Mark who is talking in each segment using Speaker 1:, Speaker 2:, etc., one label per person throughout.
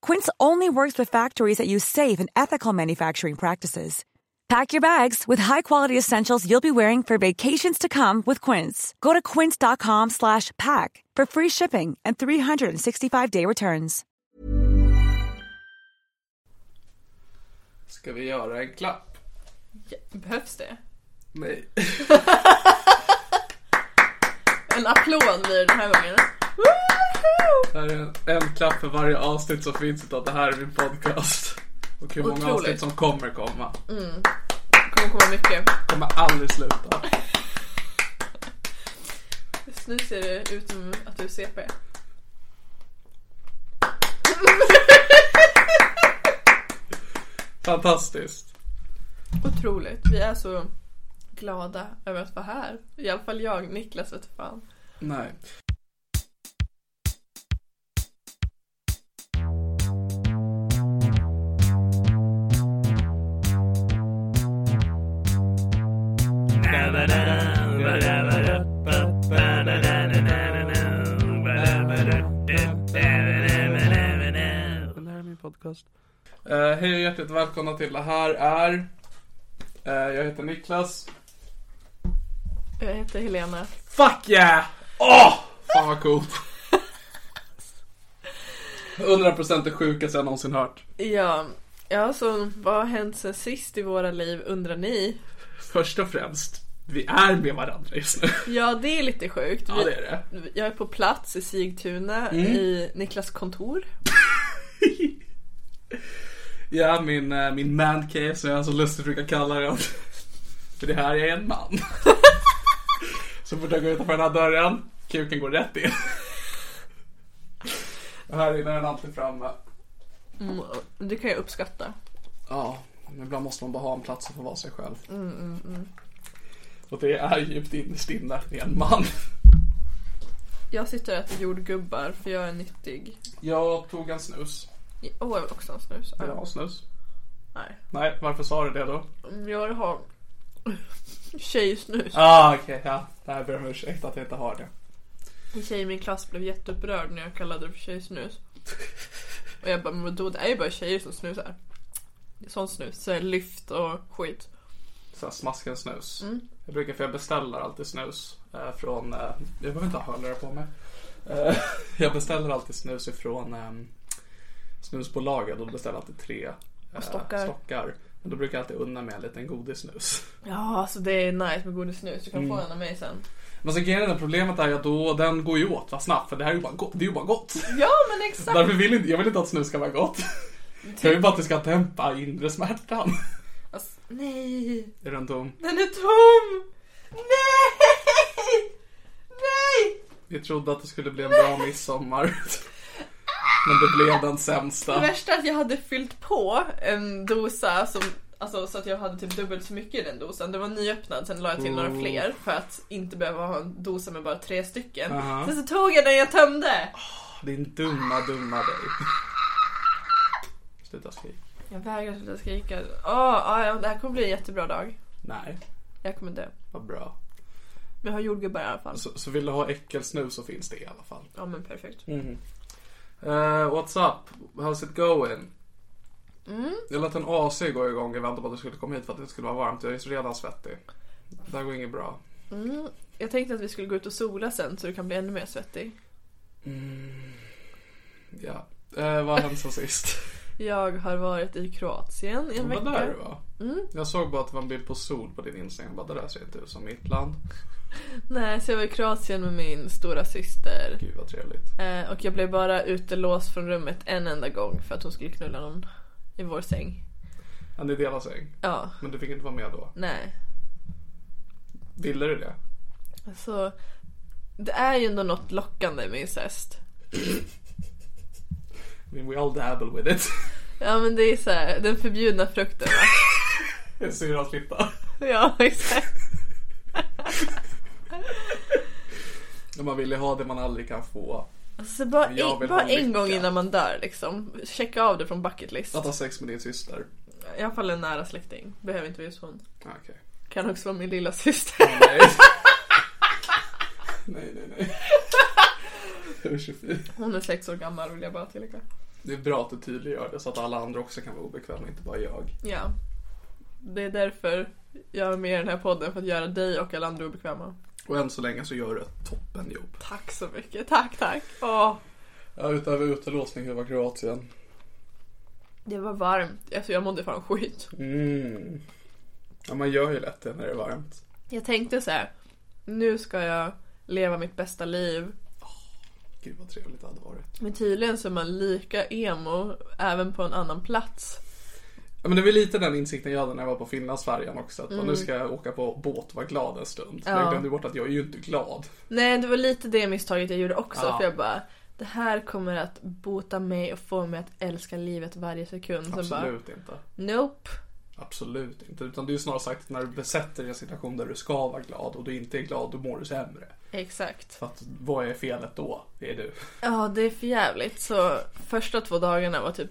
Speaker 1: Quince only works with factories that use safe and ethical manufacturing practices. Pack your bags with high-quality essentials you'll be wearing for vacations to come with Quince. Go to quince.com slash pack for free shipping and 365-day returns.
Speaker 2: Ska vi göra en klapp?
Speaker 3: Ja, Behövs det?
Speaker 2: Nej.
Speaker 3: En applåd blir det den här gången.
Speaker 2: Det här är en, en klapp för varje avsnitt som finns utav det här är min podcast. Och hur många
Speaker 3: Otroligt.
Speaker 2: avsnitt som kommer komma.
Speaker 3: Det kommer komma mycket.
Speaker 2: Kommer aldrig sluta.
Speaker 3: Just nu ser det ut som att du är CP.
Speaker 2: Fantastiskt.
Speaker 3: Otroligt. Vi är så glada över att vara här. I alla fall jag, Niklas vet fan.
Speaker 2: Nej. Det här är min podcast. Eh, hej och hjärtligt välkomna till det här är... eh, jag heter Niklas.
Speaker 3: Jag heter Helena.
Speaker 2: Fuck yeah! Åh! Fan vad coolt. 100% det sjukaste jag någonsin hört.
Speaker 3: Ja, ja så vad har hänt sen sist i våra liv undrar ni?
Speaker 2: Först och främst, vi är med varandra just nu.
Speaker 3: Ja, det är lite sjukt.
Speaker 2: Ja, det är Mm. det.
Speaker 3: Jag är på plats i Sigtuna i Niklas kontor.
Speaker 2: Ja, min, eh, min man cave som jag så lustigt brukar kalla den. För det här är en man. Så fort jag går utanför den här dörren, kuken går rätt in. Och här inne är den alltid framme.
Speaker 3: Mm, och det kan jag uppskatta.
Speaker 2: Ja, men ibland måste man bara ha en plats och få vara sig själv. Och det är djupt innerst inne i en man.
Speaker 3: Jag sitter och äter jordgubbar för jag är nyttig.
Speaker 2: Jag tog en snus.
Speaker 3: Åh, jag vill också ha en snus.
Speaker 2: Vill du ha snus?
Speaker 3: Nej.
Speaker 2: Nej, varför sa du det då?
Speaker 3: Jag har tjejsnus.
Speaker 2: Ah, okej, ja. Det här ber jag om ursäkt att jag inte har det.
Speaker 3: En tjej i min klass blev jätteupprörd när jag kallade det för tjejsnus. Och jag bara, men då det är ju bara tjejer som snusar. Det är Sån snus, så här lyft och skit.
Speaker 2: så här smasken snus.
Speaker 3: Mm.
Speaker 2: Jag brukar, för jag beställer alltid snus eh, från, eh, jag behöver inte ha hörlurar på mig. Eh, jag beställer alltid snus ifrån eh, snusbolaget och då beställer jag alltid tre eh,
Speaker 3: stockar.
Speaker 2: stockar. Men då brukar jag alltid unna mig en liten godisnus.
Speaker 3: Ja, alltså det är nice med godissnus. Du kan få en av mig sen.
Speaker 2: Men så grejen är det problemet är ju att då, den går ju åt va, snabbt för det här är ju bara gott. Det är ju bara gott.
Speaker 3: Ja, men exakt!
Speaker 2: Därför vill inte, jag vill inte att snus ska vara gott. Jag vill bara att det ska dämpa inre smärtan.
Speaker 3: Alltså, nej,
Speaker 2: Är den tom?
Speaker 3: den är tom! Nej! Nej!
Speaker 2: Vi trodde att det skulle bli en bra midsommar. Men det blev den sämsta.
Speaker 3: Det värsta är att jag hade fyllt på en dosa som, alltså, så att jag hade typ dubbelt så mycket i den dosan. Det var nyöppnad, sen la jag till
Speaker 2: Mm.
Speaker 3: några fler för att inte behöva ha en dosa med bara tre stycken.
Speaker 2: Aha.
Speaker 3: Sen så tog jag den jag tömde.
Speaker 2: Din dumma, dumma dig. Sluta skrik.
Speaker 3: Jag vägrar sluta skrika. Åh, ja, ja, det här kommer bli en jättebra dag.
Speaker 2: Nej,
Speaker 3: Jag kommer dö.
Speaker 2: vad bra. Alltså,
Speaker 3: Vi har jordgubbar i alla fall.
Speaker 2: Så, så vill du ha äckelsnus så finns det i alla fall.
Speaker 3: Ja men perfekt.
Speaker 2: Eh, what's up? How's it going?
Speaker 3: Mm.
Speaker 2: Jag lät en AC gå igång i väntan på att du skulle komma hit för att det skulle vara varmt. Jag är så redan svettig. Det här går inget bra.
Speaker 3: Mm. Jag tänkte att vi skulle gå ut och sola sen så du kan bli ännu mer svettig.
Speaker 2: Ja. Eh, vad har hänt sen sist?
Speaker 3: Jag har varit i Kroatien i en
Speaker 2: Vad
Speaker 3: vecka. Mm.
Speaker 2: där du var? Jag såg bara att det var en bild på sol på din Instagram. Jag bara, det där ser inte ut som mitt land.
Speaker 3: Nej, så jag var i Kroatien med min stora syster.
Speaker 2: Gud vad trevligt.
Speaker 3: Eh, och jag blev bara utelåst från rummet en enda gång för att hon skulle knulla någon i vår säng.
Speaker 2: Ja, ni delar säng.
Speaker 3: Ja,
Speaker 2: Men du fick inte vara med då.
Speaker 3: nej.
Speaker 2: Ville du det?
Speaker 3: Så Alltså, det är ju ändå något lockande med incest.
Speaker 2: I mean, we all dabble with it.
Speaker 3: Ja men det är så här, den förbjudna frukten va?
Speaker 2: En syrras fippa.
Speaker 3: Ja exakt.
Speaker 2: När man vill ju ha det man aldrig kan få.
Speaker 3: Så Alltså, bara,
Speaker 2: Jag vill
Speaker 3: en, bara
Speaker 2: ha lycka.
Speaker 3: en gång innan man dör liksom. Checka av det från bucket list.
Speaker 2: Att ha sex med din syster.
Speaker 3: I alla fall en nära släkting. Behöver inte vara just hon.
Speaker 2: Ah, Okej.
Speaker 3: Kan också vara min lilla syster.
Speaker 2: Nej. nej, nej, nej. Jag är 24.
Speaker 3: Hon är sex år gammal vill jag bara tillägga.
Speaker 2: Det är bra att du tydliggör det så att alla andra också kan vara obekväma, inte bara jag.
Speaker 3: Ja. Det är därför jag är med i den här podden. För att göra dig och alla andra obekväma.
Speaker 2: Och än så länge så gör du ett toppenjobb.
Speaker 3: Tack så mycket. Tack, tack. Åh.
Speaker 2: Ja, utöver utelåsning, hur var Kroatien?
Speaker 3: Det var varmt. Alltså jag mådde fan skit.
Speaker 2: Mm. Ja, man gör ju lätt det när det är varmt.
Speaker 3: Jag tänkte så här. Nu ska jag leva mitt bästa liv.
Speaker 2: Gud vad trevligt det hade varit.
Speaker 3: Men tydligen så är man lika emo även på en annan plats.
Speaker 2: Ja, men det var lite den insikten jag hade när jag var på Finlandsfärjan också. Att bara, nu ska jag åka på båt och vara glad en stund. Men Jag
Speaker 3: Mm. Ja.
Speaker 2: glömde bort att jag är ju inte glad.
Speaker 3: Nej, det var lite det misstaget jag gjorde också.
Speaker 2: Ja.
Speaker 3: För jag bara, det här kommer att bota mig och få mig att älska livet varje sekund. Sen bara,
Speaker 2: Absolut inte.
Speaker 3: nope.
Speaker 2: Absolut inte. Utan det är ju snarare sagt att när du besätter dig i en situation där du ska vara glad och du inte är glad, då mår du sämre.
Speaker 3: Exakt.
Speaker 2: För att vad är felet då? Det är du.
Speaker 3: Ja, det är för jävligt. Så första två dagarna var typ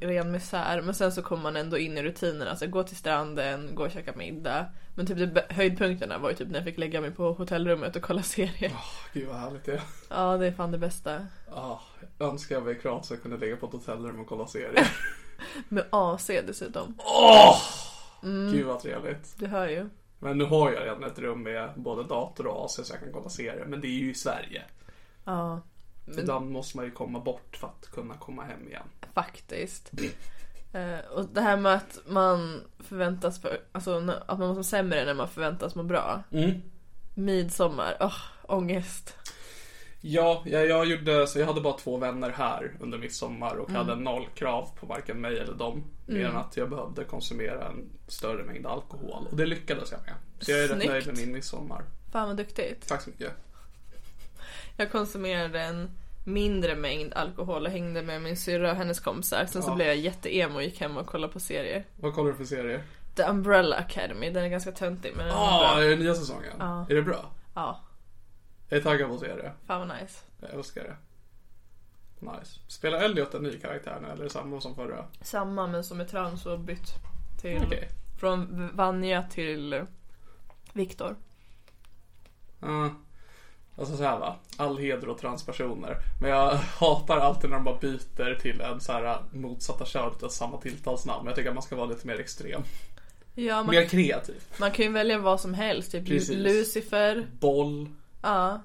Speaker 3: ren misär. Men sen så kom man ändå in i rutinen. Alltså gå till stranden, gå och käka middag. Men typ de bä- höjdpunkterna var ju typ när jag fick lägga mig på hotellrummet och kolla serier.
Speaker 2: Åh, Ah, gud vad härligt det är.
Speaker 3: Ja, det är fan det bästa.
Speaker 2: Ah, jag önskar jag var i Kroatien och kunde ligga på ett hotellrum och kolla serier.
Speaker 3: Med AC dessutom.
Speaker 2: Gud vad trevligt.
Speaker 3: Du hör ju.
Speaker 2: Men nu har jag redan ett rum med både dator och AC så jag kan kolla serier. Men det är ju i Sverige.
Speaker 3: Ja.
Speaker 2: Ibland måste man ju komma bort för att kunna komma hem igen.
Speaker 3: Faktiskt. Eh, och det här med att man förväntas för, alltså n- att man måste sämre när man förväntas må bra.
Speaker 2: Mm.
Speaker 3: Midsommar, åh, ångest.
Speaker 2: Ja, jag, jag gjorde så. Jag hade bara två vänner här under midsommar och
Speaker 3: Mm.
Speaker 2: hade noll krav på varken mig eller dem. Mer än att jag behövde konsumera en större mängd alkohol. Och det lyckades jag med. Så jag är rätt
Speaker 3: Snyggt.
Speaker 2: nöjd med min midsommar.
Speaker 3: Fan vad duktigt.
Speaker 2: Tack så mycket.
Speaker 3: Jag konsumerade en mindre mängd alkohol och hängde med min syrra och hennes kompisar. Sen så
Speaker 2: Ja.
Speaker 3: blev jag jätteemo och gick hem och kollade på serier.
Speaker 2: Vad kollar du för serier?
Speaker 3: The Umbrella Academy, den är ganska töntig men den är
Speaker 2: Ah,
Speaker 3: bra.
Speaker 2: är det nya säsongen?
Speaker 3: Ja.
Speaker 2: Är det bra?
Speaker 3: Ja,
Speaker 2: Jag är taggad på att se det.
Speaker 3: fan vad nice.
Speaker 2: Jag älskar det. Nice. Spelar Elliot en ny karaktär nu eller är det samma som förra?
Speaker 3: Samma men som är trans och bytt till...
Speaker 2: Okej.
Speaker 3: Från Vanja till Viktor.
Speaker 2: Ja. Alltså så här va, all heder och transpersoner. Men jag hatar alltid när de bara byter till en så här äh, motsatta könet och samma tilltalsnamn. Jag tycker att man ska vara lite mer extrem.
Speaker 3: Ja, man
Speaker 2: Mer kreativ.
Speaker 3: Man kan ju välja vad som helst, typ
Speaker 2: Precis.
Speaker 3: Lucifer,
Speaker 2: Boll.
Speaker 3: ja,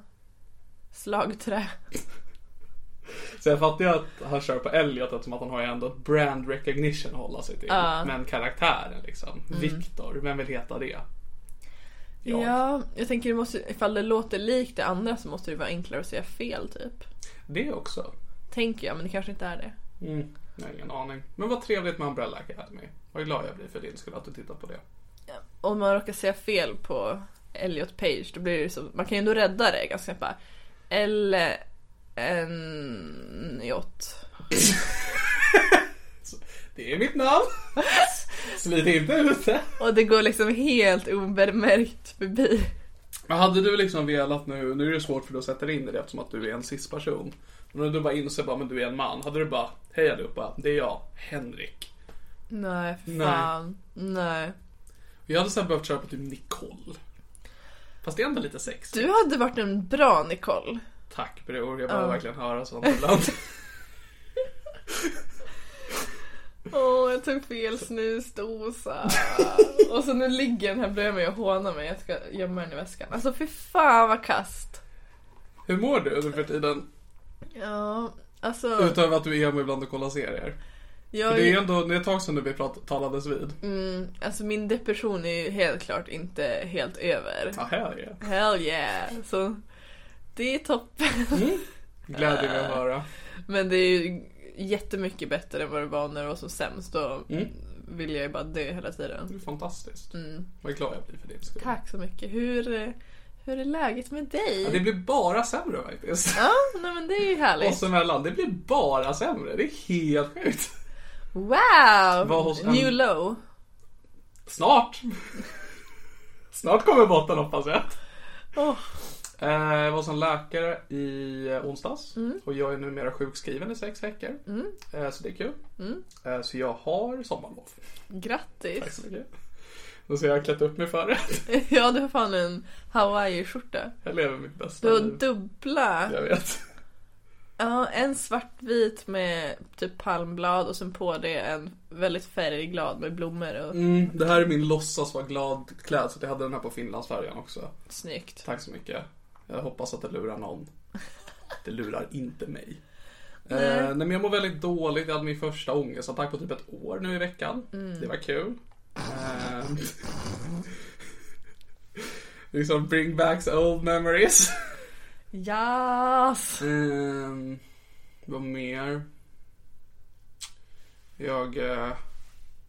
Speaker 3: slagträ.
Speaker 2: Så jag fattar ju att han kör på Elliot eftersom att han har ju ändå ett brand recognition att hålla sig till.
Speaker 3: Ja. Mm.
Speaker 2: Men karaktären liksom. Viktor, vem vill heta det? Jag.
Speaker 3: Ja, jag tänker det måste, ifall det låter likt det andra så måste det vara enklare att säga fel typ.
Speaker 2: Det också.
Speaker 3: Tänker jag, men det kanske inte är det.
Speaker 2: Mm. Jag har ingen aning. Men vad trevligt med Umbrella Academy. Vad glad jag blir för din skull att du tittar på det.
Speaker 3: Om man råkar säga fel på Elliot Page, då blir det så, man kan ju ändå rädda det ganska snabbt. bara, Eller en jott.
Speaker 2: Det är mitt namn! Slit inte ut det!
Speaker 3: Och det går liksom helt obemärkt förbi.
Speaker 2: Men hade du liksom velat nu, nu är det svårt för dig att sätta dig in i det eftersom att du är en cis-person. Men om du bara inser bara, men du är en man. Hade du bara, hej allihopa, det är jag, Henrik.
Speaker 3: Nej, för
Speaker 2: Nej.
Speaker 3: fan. Nej.
Speaker 2: Jag hade sen behövt köra på typ Nicole. Fast det är ändå lite sex.
Speaker 3: Du hade varit en bra Nicole.
Speaker 2: Tack bror, jag behöver verkligen höra sånt ibland.
Speaker 3: Åh, jag tog fel snusdosa. och så nu ligger den här bredvid mig och hånar mig. Jag ska gömma den i väskan. Alltså fy fan vad kast.
Speaker 2: Hur mår du nu för tiden?
Speaker 3: Ja, alltså.
Speaker 2: Utöver att du är hemma ibland och kollar serier. För
Speaker 3: jag,
Speaker 2: det är ändå det är ett tag sedan nu vi prat, talades vid.
Speaker 3: mm, alltså min depression är ju helt klart inte helt över.
Speaker 2: Ah, hell yeah.
Speaker 3: Hell yeah. Så det är toppen.
Speaker 2: Mm. Glädjer mig att
Speaker 3: Eh.
Speaker 2: höra.
Speaker 3: Men det är ju jättemycket bättre än vad det var när det var som sämst. Då vill jag ju bara dö hela
Speaker 2: Mm. Det
Speaker 3: tiden.
Speaker 2: är fantastiskt. Vad glad jag blir för din skull.
Speaker 3: Mm. Tack så mycket. Hur, eh, hur är läget med dig?
Speaker 2: Ja, det blir bara sämre faktiskt.
Speaker 3: Ja, nej men det är ju härligt.
Speaker 2: Oss emellan, det blir bara sämre. Det är helt sjukt. Vad
Speaker 3: Wow!
Speaker 2: hos en-
Speaker 3: New low.
Speaker 2: Snart! Snart kommer botten hoppas jag.
Speaker 3: Åh.
Speaker 2: Eh, Jag var som läkare i onsdags och jag är numera sjukskriven i sex veckor. Eh, Så det är kul. Eh, Så jag har sommarlov. Tack
Speaker 3: Grattis!
Speaker 2: så mycket. Och så har jag klätt upp mig för det.
Speaker 3: Ja, du har fan en hawaii-skjorta.
Speaker 2: Jag lever mitt bästa
Speaker 3: Du har
Speaker 2: liv.
Speaker 3: dubbla.
Speaker 2: Jag vet.
Speaker 3: Ja, en svartvit med typ palmblad och sen på det en väldigt färgglad med blommor och
Speaker 2: Mm, det här är min låtsas vara glad klädsel. Jag hade den här på Finlandsfärjan också.
Speaker 3: snyggt.
Speaker 2: Tack så mycket. Jag hoppas att det lurar någon. Det lurar inte mig. Nej.
Speaker 3: Nej.
Speaker 2: Eh, nej men jag mår väldigt dåligt. Jag hade min första ångestattack på typ ett år nu i veckan. Det var kul. Eh, liksom bring back the old memories.
Speaker 3: Yes!
Speaker 2: Eh, vad mer? Jag, eh,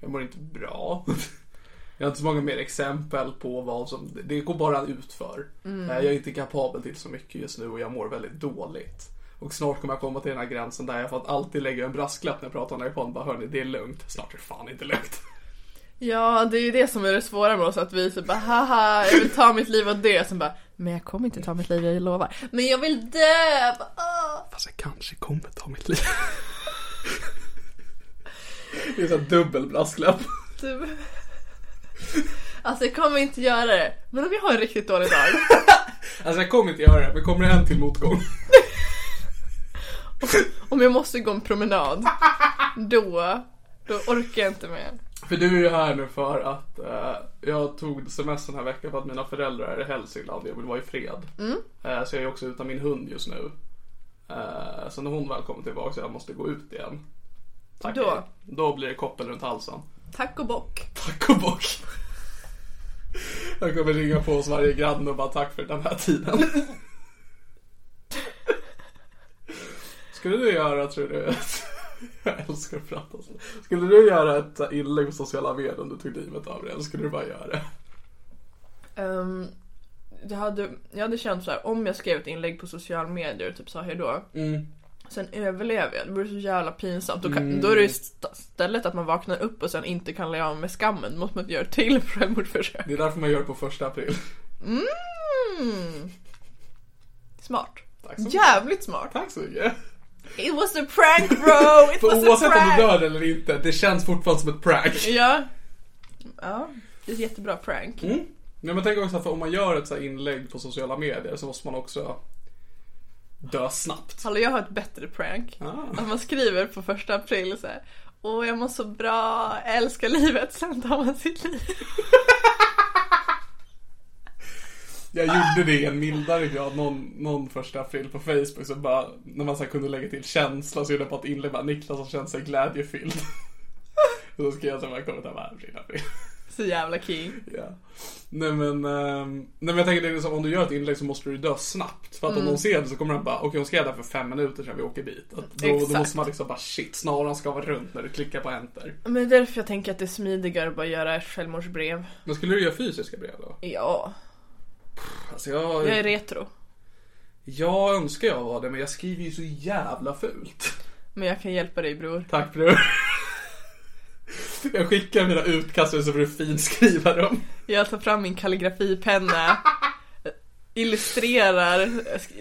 Speaker 2: jag mår inte bra. Jag har inte så många mer exempel på vad som... Det går bara utför. Eh, Jag är inte kapabel till så mycket just nu och jag mår väldigt dåligt. Och snart kommer jag komma till den här gränsen där jag får att alltid lägga en brasklapp när jag pratar om det här i podden. Bara hörni, det är lugnt. Snart är det fan inte lugnt.
Speaker 3: Ja, det är ju det som är det svåra med oss, att vi så bara haha, jag vill ta mitt liv och dö. Sen bara, men jag kommer inte ta mitt liv, jag lovar. Men jag vill dö! Bara, "Åh."
Speaker 2: Fast jag kanske kommer ta mitt liv. Det är en sån här dubbel brasklapp.
Speaker 3: Du... Alltså jag kommer inte göra det. Men om jag har en riktigt dålig dag.
Speaker 2: Alltså jag kommer inte göra det, men kommer det en till motgång?
Speaker 3: Om jag måste gå en promenad. Då. Då orkar jag inte mer.
Speaker 2: För du är ju här nu för att eh, jag tog semester den här veckan för att mina föräldrar är i Hälsingland och jag vill vara i fred. Eh, så jag är också utan min hund just nu. Eh, så när hon väl kommer tillbaka så jag måste gå ut igen. Tack.
Speaker 3: Då?
Speaker 2: Erik. Då blir det koppel runt halsen.
Speaker 3: Tack och bock.
Speaker 2: Tack och bock. Jag kommer ringa på hos varje granne och bara tack för den här tiden. Skulle du göra, tror du, jag älskar att prata så. Skulle du göra ett inlägg på sociala medier om du tog livet av dig eller skulle du bara göra det?
Speaker 3: Ehm, jag, hade, jag hade känt så här, om jag skrev ett inlägg på sociala medier och typ sa hejdå.
Speaker 2: Mm.
Speaker 3: Sen överlever jag. Det vore så jävla pinsamt. Då, kan, då är det st- stället att man vaknar upp och sen inte kan lägga av med skammen. Då måste man göra ett till självmordsförsök.
Speaker 2: Det är därför man gör det på första april.
Speaker 3: Mm. Smart.
Speaker 2: Tack så mycket.
Speaker 3: Jävligt smart.
Speaker 2: Tack så mycket.
Speaker 3: It was a prank bro! It
Speaker 2: För
Speaker 3: was a
Speaker 2: oavsett om
Speaker 3: prank!
Speaker 2: du dör eller inte, det känns fortfarande som ett prank.
Speaker 3: Ja. Ja, det är ett jättebra prank.
Speaker 2: Nej, Mm. men tänk också för om man gör ett så här inlägg på sociala medier så måste man också dö snabbt.
Speaker 3: Hallå, jag har ett bättre prank.
Speaker 2: Ah.
Speaker 3: Att man skriver på första april så här. Åh, jag mår så bra, jag älskar livet. Sen tar man sitt liv.
Speaker 2: Jag gjorde det i en mildare grad någon, någon första april på Facebook. Så bara, när man så här kunde lägga till känsla så gjorde jag bara ett inlägg bara Niklas har känt sig glädjefylld. Och då skrev jag så här, kommer ta med april, april.
Speaker 3: Så jävla king.
Speaker 2: Ja. Nej men, ehm, nej men jag tänker det är liksom, om du gör ett inlägg så måste du ju dö snabbt. För att
Speaker 3: Mm.
Speaker 2: om någon ser det så kommer den bara, okej hon skrev det här för fem minuter sedan vi åker dit. Att då, då
Speaker 3: Exakt.
Speaker 2: måste man liksom bara shit, snaran ska vara runt när du klickar på enter.
Speaker 3: Men det är därför jag tänker att det är smidigare att bara göra ett självmordsbrev.
Speaker 2: Men skulle du göra fysiska brev då?
Speaker 3: Ja,
Speaker 2: Alltså jag,
Speaker 3: jag är
Speaker 2: jag,
Speaker 3: retro.
Speaker 2: önskar jag var det men jag skriver ju så jävla fult.
Speaker 3: Men jag kan hjälpa dig bror.
Speaker 2: Tack bror. Jag skickar mina utkast så får du finskriva dem.
Speaker 3: Jag tar fram min kalligrafipenna. Illustrerar,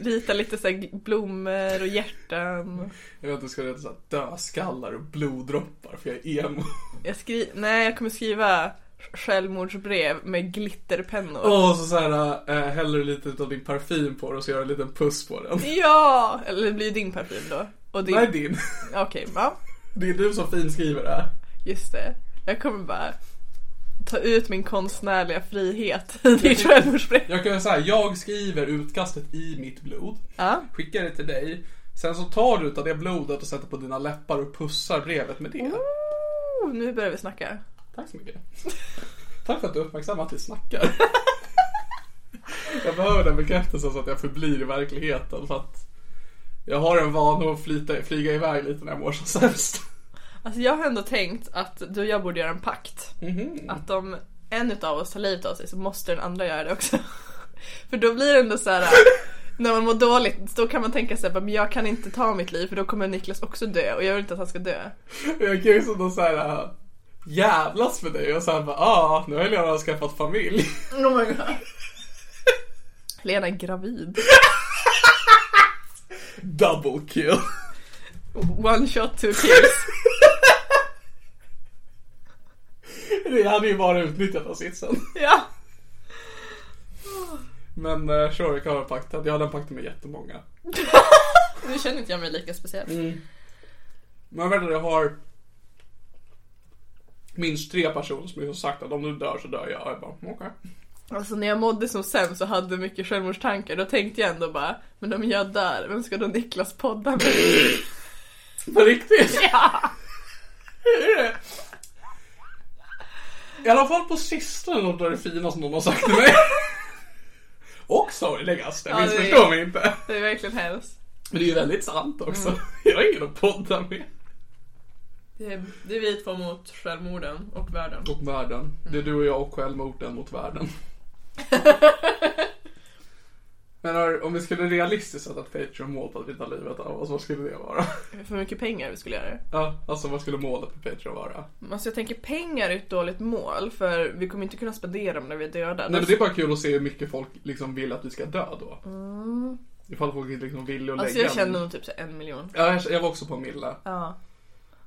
Speaker 3: ritar lite så här blommor och hjärtan.
Speaker 2: Jag vet inte, ska det heta såhär dödskallar och bloddroppar för jag är emo.
Speaker 3: Jag skri... Nej, jag kommer skriva självmordsbrev med glitterpennor.
Speaker 2: Åh, så såhär, äh, häller du lite utav din parfym på det och så gör du en liten puss på den.
Speaker 3: Ja! Eller det blir ju din parfym då. Och din...
Speaker 2: Nej, din.
Speaker 3: Okej, ja.
Speaker 2: Det är du som finskriver det här.
Speaker 3: Just det. Jag kommer bara ta ut min konstnärliga frihet i ditt självmordsbrev.
Speaker 2: Jag kan väl säga, jag skriver utkastet i mitt blod.
Speaker 3: Ja.
Speaker 2: Skickar det till dig. Sen så tar du utav det blodet och sätter på dina läppar och pussar brevet med det.
Speaker 3: Oh, nu börjar vi snacka.
Speaker 2: Tack så mycket. Tack för att du uppmärksammar att vi snackar. jag behöver den bekräftelsen så att jag förblir i verkligheten för att jag har en vana att flyta, flyga iväg lite när jag mår som sämst.
Speaker 3: Alltså jag har ändå tänkt att du och jag borde göra en pakt. Att om en utav oss tar livet av sig så måste den andra göra det också. För då blir det ändå så här. När man mår dåligt då kan man tänka sig att jag kan inte ta mitt liv för då kommer Niklas också dö och jag vill inte att han ska dö.
Speaker 2: Jag kan ju sådär såhär äh, jävlas med dig och sen bara ah, nu har Helena skaffat familj.
Speaker 3: Oh my god. Lena är gravid.
Speaker 2: Double kill.
Speaker 3: One shot, two kills.
Speaker 2: Det hade ju bara utnyttjat av sitsen.
Speaker 3: Ja.
Speaker 2: Men eh, sure, jag kan ha en pakt. Jag hade en pakt med jättemånga.
Speaker 3: Nu känner inte jag mig lika speciell.
Speaker 2: Mm. Men jag vet att jag har minst tre personer som har sagt att om du dör så dör jag. Och jag bara "Mm, okej.
Speaker 3: Alltså när jag mådde som sämst och hade mycket självmordstankar då tänkte jag ändå bara Men om jag dör, vem ska då Niklas podda med?
Speaker 2: På riktigt?
Speaker 3: ja!
Speaker 2: I alla fall på sistone något av det fina som någon har sagt till mig. Och sorgligast, jag
Speaker 3: Ja, det är-
Speaker 2: missförstår mig inte. Mm.
Speaker 3: Det är verkligen hemskt.
Speaker 2: Men det är ju väldigt sant också. Jag har ingen att podda med.
Speaker 3: Det är, det är vi två mot självmorden och världen.
Speaker 2: Och världen. Det är du och jag och självmorden mot världen. Men har- om vi skulle realistiskt sätta ett Patreon-mål på att vi tar livet av oss, vad skulle det vara?
Speaker 3: För mycket pengar vi skulle göra det.
Speaker 2: Ja, alltså vad skulle målet på Patreon vara?
Speaker 3: Alltså jag tänker pengar är ett dåligt mål för vi kommer inte kunna spendera dem när vi är döda.
Speaker 2: Nej men det är bara kul att se hur mycket folk liksom vill att vi ska dö då. Mm. Ifall folk inte liksom vill att
Speaker 3: alltså
Speaker 2: lägga
Speaker 3: jag känner
Speaker 2: en...
Speaker 3: nog typ så här en miljon.
Speaker 2: Ja, jag, jag var också på en mille.
Speaker 3: Ja.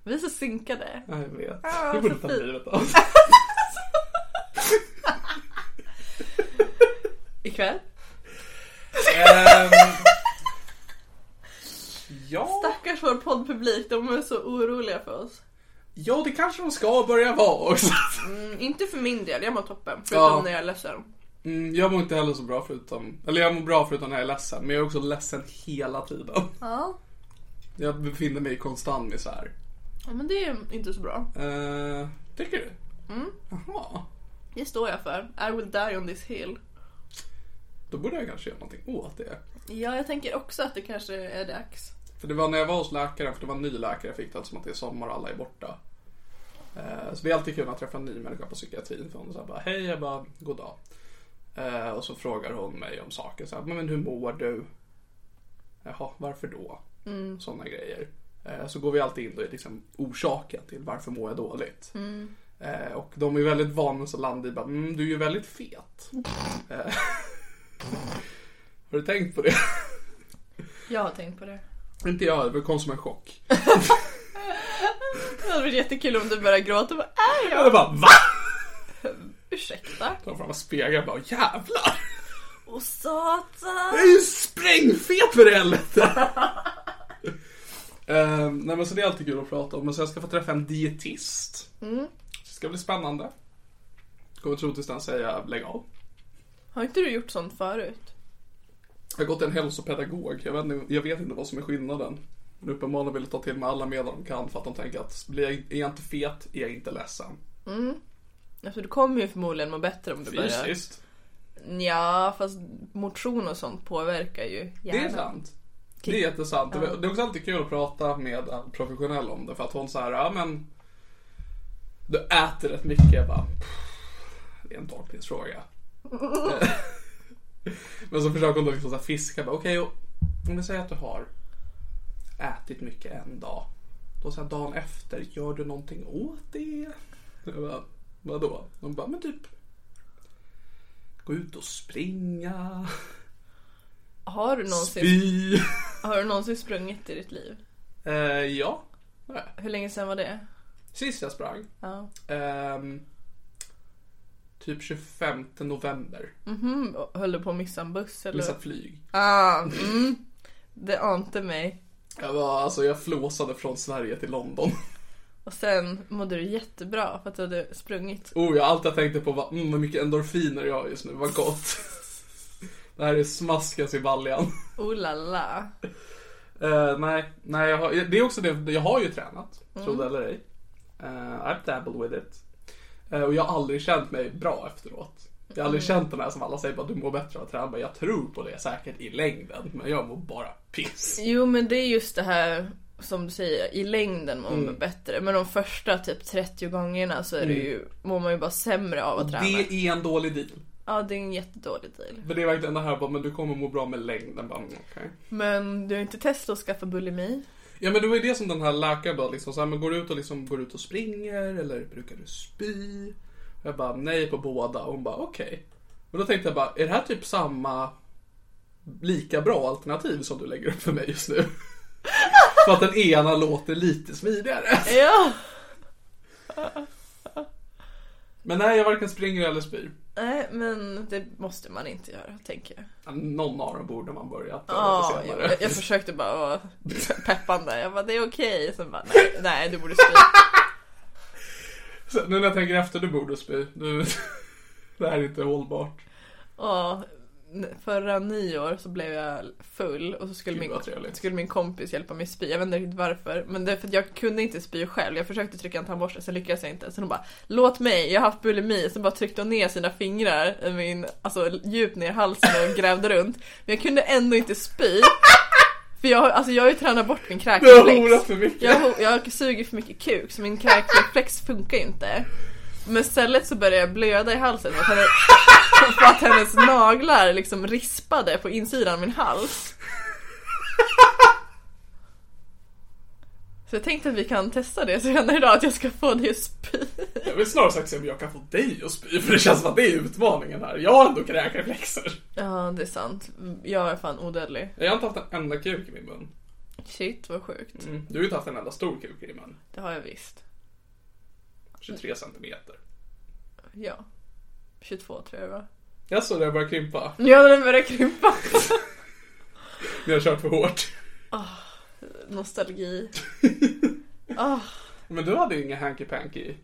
Speaker 3: Vi är så synkade.
Speaker 2: Ja, jag vet.
Speaker 3: Ah,
Speaker 2: vi borde
Speaker 3: så
Speaker 2: ta
Speaker 3: fint.
Speaker 2: livet av oss.
Speaker 3: Ikväll?
Speaker 2: Ehm, Ja,
Speaker 3: Stackars vår poddpublik, de är så oroliga för oss.
Speaker 2: ja, det kanske de ska börja vara också.
Speaker 3: Mm, Inte för min del, jag mår toppen. Förutom
Speaker 2: Ja.
Speaker 3: när jag är ledsen.
Speaker 2: Mm, jag mår inte heller så bra förutom, eller jag mår bra förutom när jag är ledsen, men jag är också ledsen hela tiden.
Speaker 3: Ja.
Speaker 2: Jag befinner mig i konstant misär.
Speaker 3: ja. Men det är inte så bra.
Speaker 2: Uh, tycker du? Mm. Jaha,
Speaker 3: Det står jag för. I will die on this hill.
Speaker 2: då borde jag kanske göra någonting åt det.
Speaker 3: Ja, jag tänker också att det kanske är dags.
Speaker 2: För det var när jag var hos läkaren, för det var en ny läkare jag fick det, som att det är sommar och alla är borta. Eh, Så det är alltid kul att träffa en ny människa på psykiatrin. För hon så här bara, hej, jag bara, god dag. Eh, Och så frågar hon mig om saker. Så här, men hur mår du? Jaha, varför då? Mm. Sådana grejer. Eh, Så går vi alltid in då i liksom orsaken till varför mår jag dåligt. Eh, Och de är väldigt vana att landa i bara, mm, du är ju väldigt fet. Eh, Har du tänkt på det?
Speaker 3: Jag har tänkt på det.
Speaker 2: Inte jag, det kom som en chock.
Speaker 3: Det hade varit jättekul om du började gråta och bara är
Speaker 2: Jag
Speaker 3: jag?
Speaker 2: bara VA?
Speaker 3: Ursäkta.
Speaker 2: Tar fram en spegel och bara jävlar!
Speaker 3: Och satan.
Speaker 2: Jag är ju sprängfet för helvete! Ehm, nej men så det är alltid kul att prata om. Men sen ska jag få träffa en dietist. Det ska bli spännande. Kommer troligtvis den säga lägg av.
Speaker 3: Har inte du gjort sånt förut?
Speaker 2: Jag har gått till en hälsopedagog. Jag vet, inte- jag vet inte vad som är skillnaden. Men uppenbarligen vill jag ta till mig alla medel de kan för att de tänker att blir jag, är jag inte fet är jag inte ledsen.
Speaker 3: Alltså du kommer ju förmodligen må bättre om du börjar.
Speaker 2: Fysiskt.
Speaker 3: Ja, fast motion och sånt påverkar ju hjärnan.
Speaker 2: Det är sant. Det är jättesant. Det är också alltid kul att prata med en professionell om det för att hon säger ja men du äter rätt mycket. Jag bara, "Pff, det är en tolkningsfråga. men så försöker hon då liksom så här fiska. bara, Okej, och om vi säger att du har ätit mycket en dag. Då sen dagen efter, gör du någonting åt det? Jag bara, Vadå? Hon bara, men typ gå ut och springa,
Speaker 3: Har du någonsin,
Speaker 2: spy.
Speaker 3: har du någonsin sprungit i ditt liv?
Speaker 2: Eh, ja. Nej.
Speaker 3: Hur länge sedan var det?
Speaker 2: Sist jag sprang.
Speaker 3: Ja.
Speaker 2: ehm, typ 25 november.
Speaker 3: Mhm, och höll du på att missa en buss eller?
Speaker 2: Missat flyg.
Speaker 3: Ah, mm. Det ante mig.
Speaker 2: Jag var, alltså jag flåsade från Sverige till London.
Speaker 3: Och sen mådde du jättebra för att du hade sprungit.
Speaker 2: Oh, jag, allt jag tänkte på var mm, vad mycket endorfiner jag har just nu, vad gott. Det här är smaskas i baljan.
Speaker 3: Oh la la.
Speaker 2: Eh, nej, nej jag har, det är också det, jag har ju tränat, tro det eller ej. Eh, I've dabbled with it. Eh, och jag har aldrig känt mig bra efteråt. Jag har aldrig känt den här som alla säger, bara, du mår bättre av att träna. Men Jag tror på det säkert i längden, men jag mår bara piss.
Speaker 3: Jo men det är just det här som du säger, i längden mår man bättre. Men de första typ 30 gångerna så är det ju, mår man ju bara sämre av att träna.
Speaker 2: Det är en dålig deal.
Speaker 3: Ja det är en jättedålig deal.
Speaker 2: För det är verkligen det här, bara, men du kommer må bra med längden. Bara, mm, okej.
Speaker 3: Men du har inte testat att skaffa bulimi?
Speaker 2: Ja men det var ju det som den här läkaren då liksom så här, men går du ut och liksom går ut och springer eller brukar du spy? Och Jag bara nej på båda och hon bara okej. Men då tänkte jag bara är det här typ samma lika bra alternativ som du lägger upp för mig just nu? för att den ena låter lite smidigare.
Speaker 3: Ja!
Speaker 2: Men nej jag varken springer eller spyr.
Speaker 3: Nej men det måste man inte göra tänker jag.
Speaker 2: Någon av dem borde man börjat med
Speaker 3: Ja,
Speaker 2: senare.
Speaker 3: Ah, jag, jag försökte bara vara peppande. Jag bara det är okej. Sen bara nej, nej du borde spy.
Speaker 2: Så Nu när jag tänker efter, du borde spy. Du... Det här är inte hållbart.
Speaker 3: Ja, n- förra nyår så blev jag full och så skulle
Speaker 2: Gud,
Speaker 3: min,
Speaker 2: vad trevligt.
Speaker 3: skulle min kompis hjälpa mig spy. Jag vet inte riktigt varför. Men det är för att jag kunde inte spy själv. Jag försökte trycka en tandborste, sen lyckades jag inte. Sen hon bara Låt mig, jag har haft bulimi. Sen bara tryckte hon ner sina fingrar i min, alltså djupt ner i halsen och grävde runt. Men jag kunde ändå inte spy. För jag, har- alltså jag har ju tränat bort min
Speaker 2: Du har
Speaker 3: kräkreflex.
Speaker 2: horat för mycket.
Speaker 3: Jag, ho- jag suger för mycket kuk så min kräkreflex funkar ju inte. Men istället så började jag blöda i halsen för att, henne, för att hennes naglar liksom rispade på insidan av min hals. Så jag tänkte att vi kan testa det senare idag, att jag ska få dig att spy.
Speaker 2: Jag vill snarare sagt se om jag kan få dig att spy, för det känns som att det är utmaningen här. Jag har ändå kräkreflexer.
Speaker 3: Ja, det är sant. Jag är fan odödlig.
Speaker 2: Jag har inte haft en enda kuk i min mun. Mm.
Speaker 3: Shit, vad sjukt.
Speaker 2: Du har ju inte haft en enda stor kuk i din mun.
Speaker 3: Det har jag visst.
Speaker 2: 23 centimeter.
Speaker 3: Ja. 22 tror jag det var.
Speaker 2: Jag såg det, jag började krympa.
Speaker 3: Ja, den börjar krympa.
Speaker 2: Ni har kört för hårt.
Speaker 3: Nostalgi.
Speaker 2: Men du hade ju ingen hanky panky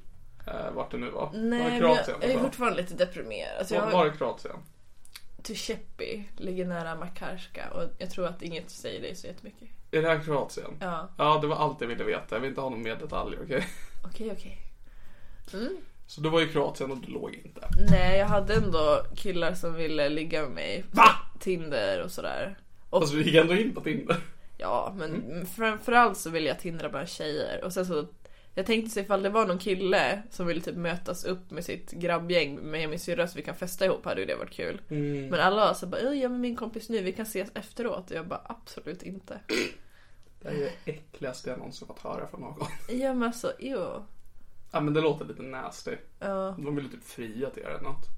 Speaker 2: eh, vart det nu var.
Speaker 3: Nej,
Speaker 2: var i
Speaker 3: men jag,
Speaker 2: Kroatien?
Speaker 3: jag är
Speaker 2: va?
Speaker 3: fortfarande lite deprimerad. Alltså, jag
Speaker 2: Var-
Speaker 3: har-
Speaker 2: Var i Kroatien?
Speaker 3: Tuschepi ligger nära Makarska och jag tror att inget säger dig så jättemycket.
Speaker 2: Är det här Kroatien?
Speaker 3: Ja,
Speaker 2: Ja, det var allt jag ville veta. Jag vill inte ha någon mer detaljer, okej?
Speaker 3: okej okej.
Speaker 2: Så du var i Kroatien och du låg inte.
Speaker 3: Nej, jag hade ändå killar som ville ligga med mig.
Speaker 2: Va?
Speaker 3: Tinder och sådär. Och
Speaker 2: Alltså du gick ändå in på Tinder.
Speaker 3: ja, men
Speaker 2: Mm.
Speaker 3: mm, framförallt så ville jag tindra bland tjejer. Och sen så, jag tänkte så ifall det var någon kille som ville typ mötas upp med sitt grabbgäng med min syrra så vi kan festa ihop hade ju det varit kul.
Speaker 2: Mm.
Speaker 3: Men alla var så bara, "Oj, jag är med min kompis nu, vi kan ses efteråt. Och jag bara absolut inte.
Speaker 2: Det är det äckligaste jag någonsin fått höra från någon.
Speaker 3: Ja men alltså, ew.
Speaker 2: Ja men det låter lite nasty.
Speaker 3: Ja.
Speaker 2: De vill typ fria till er eller något.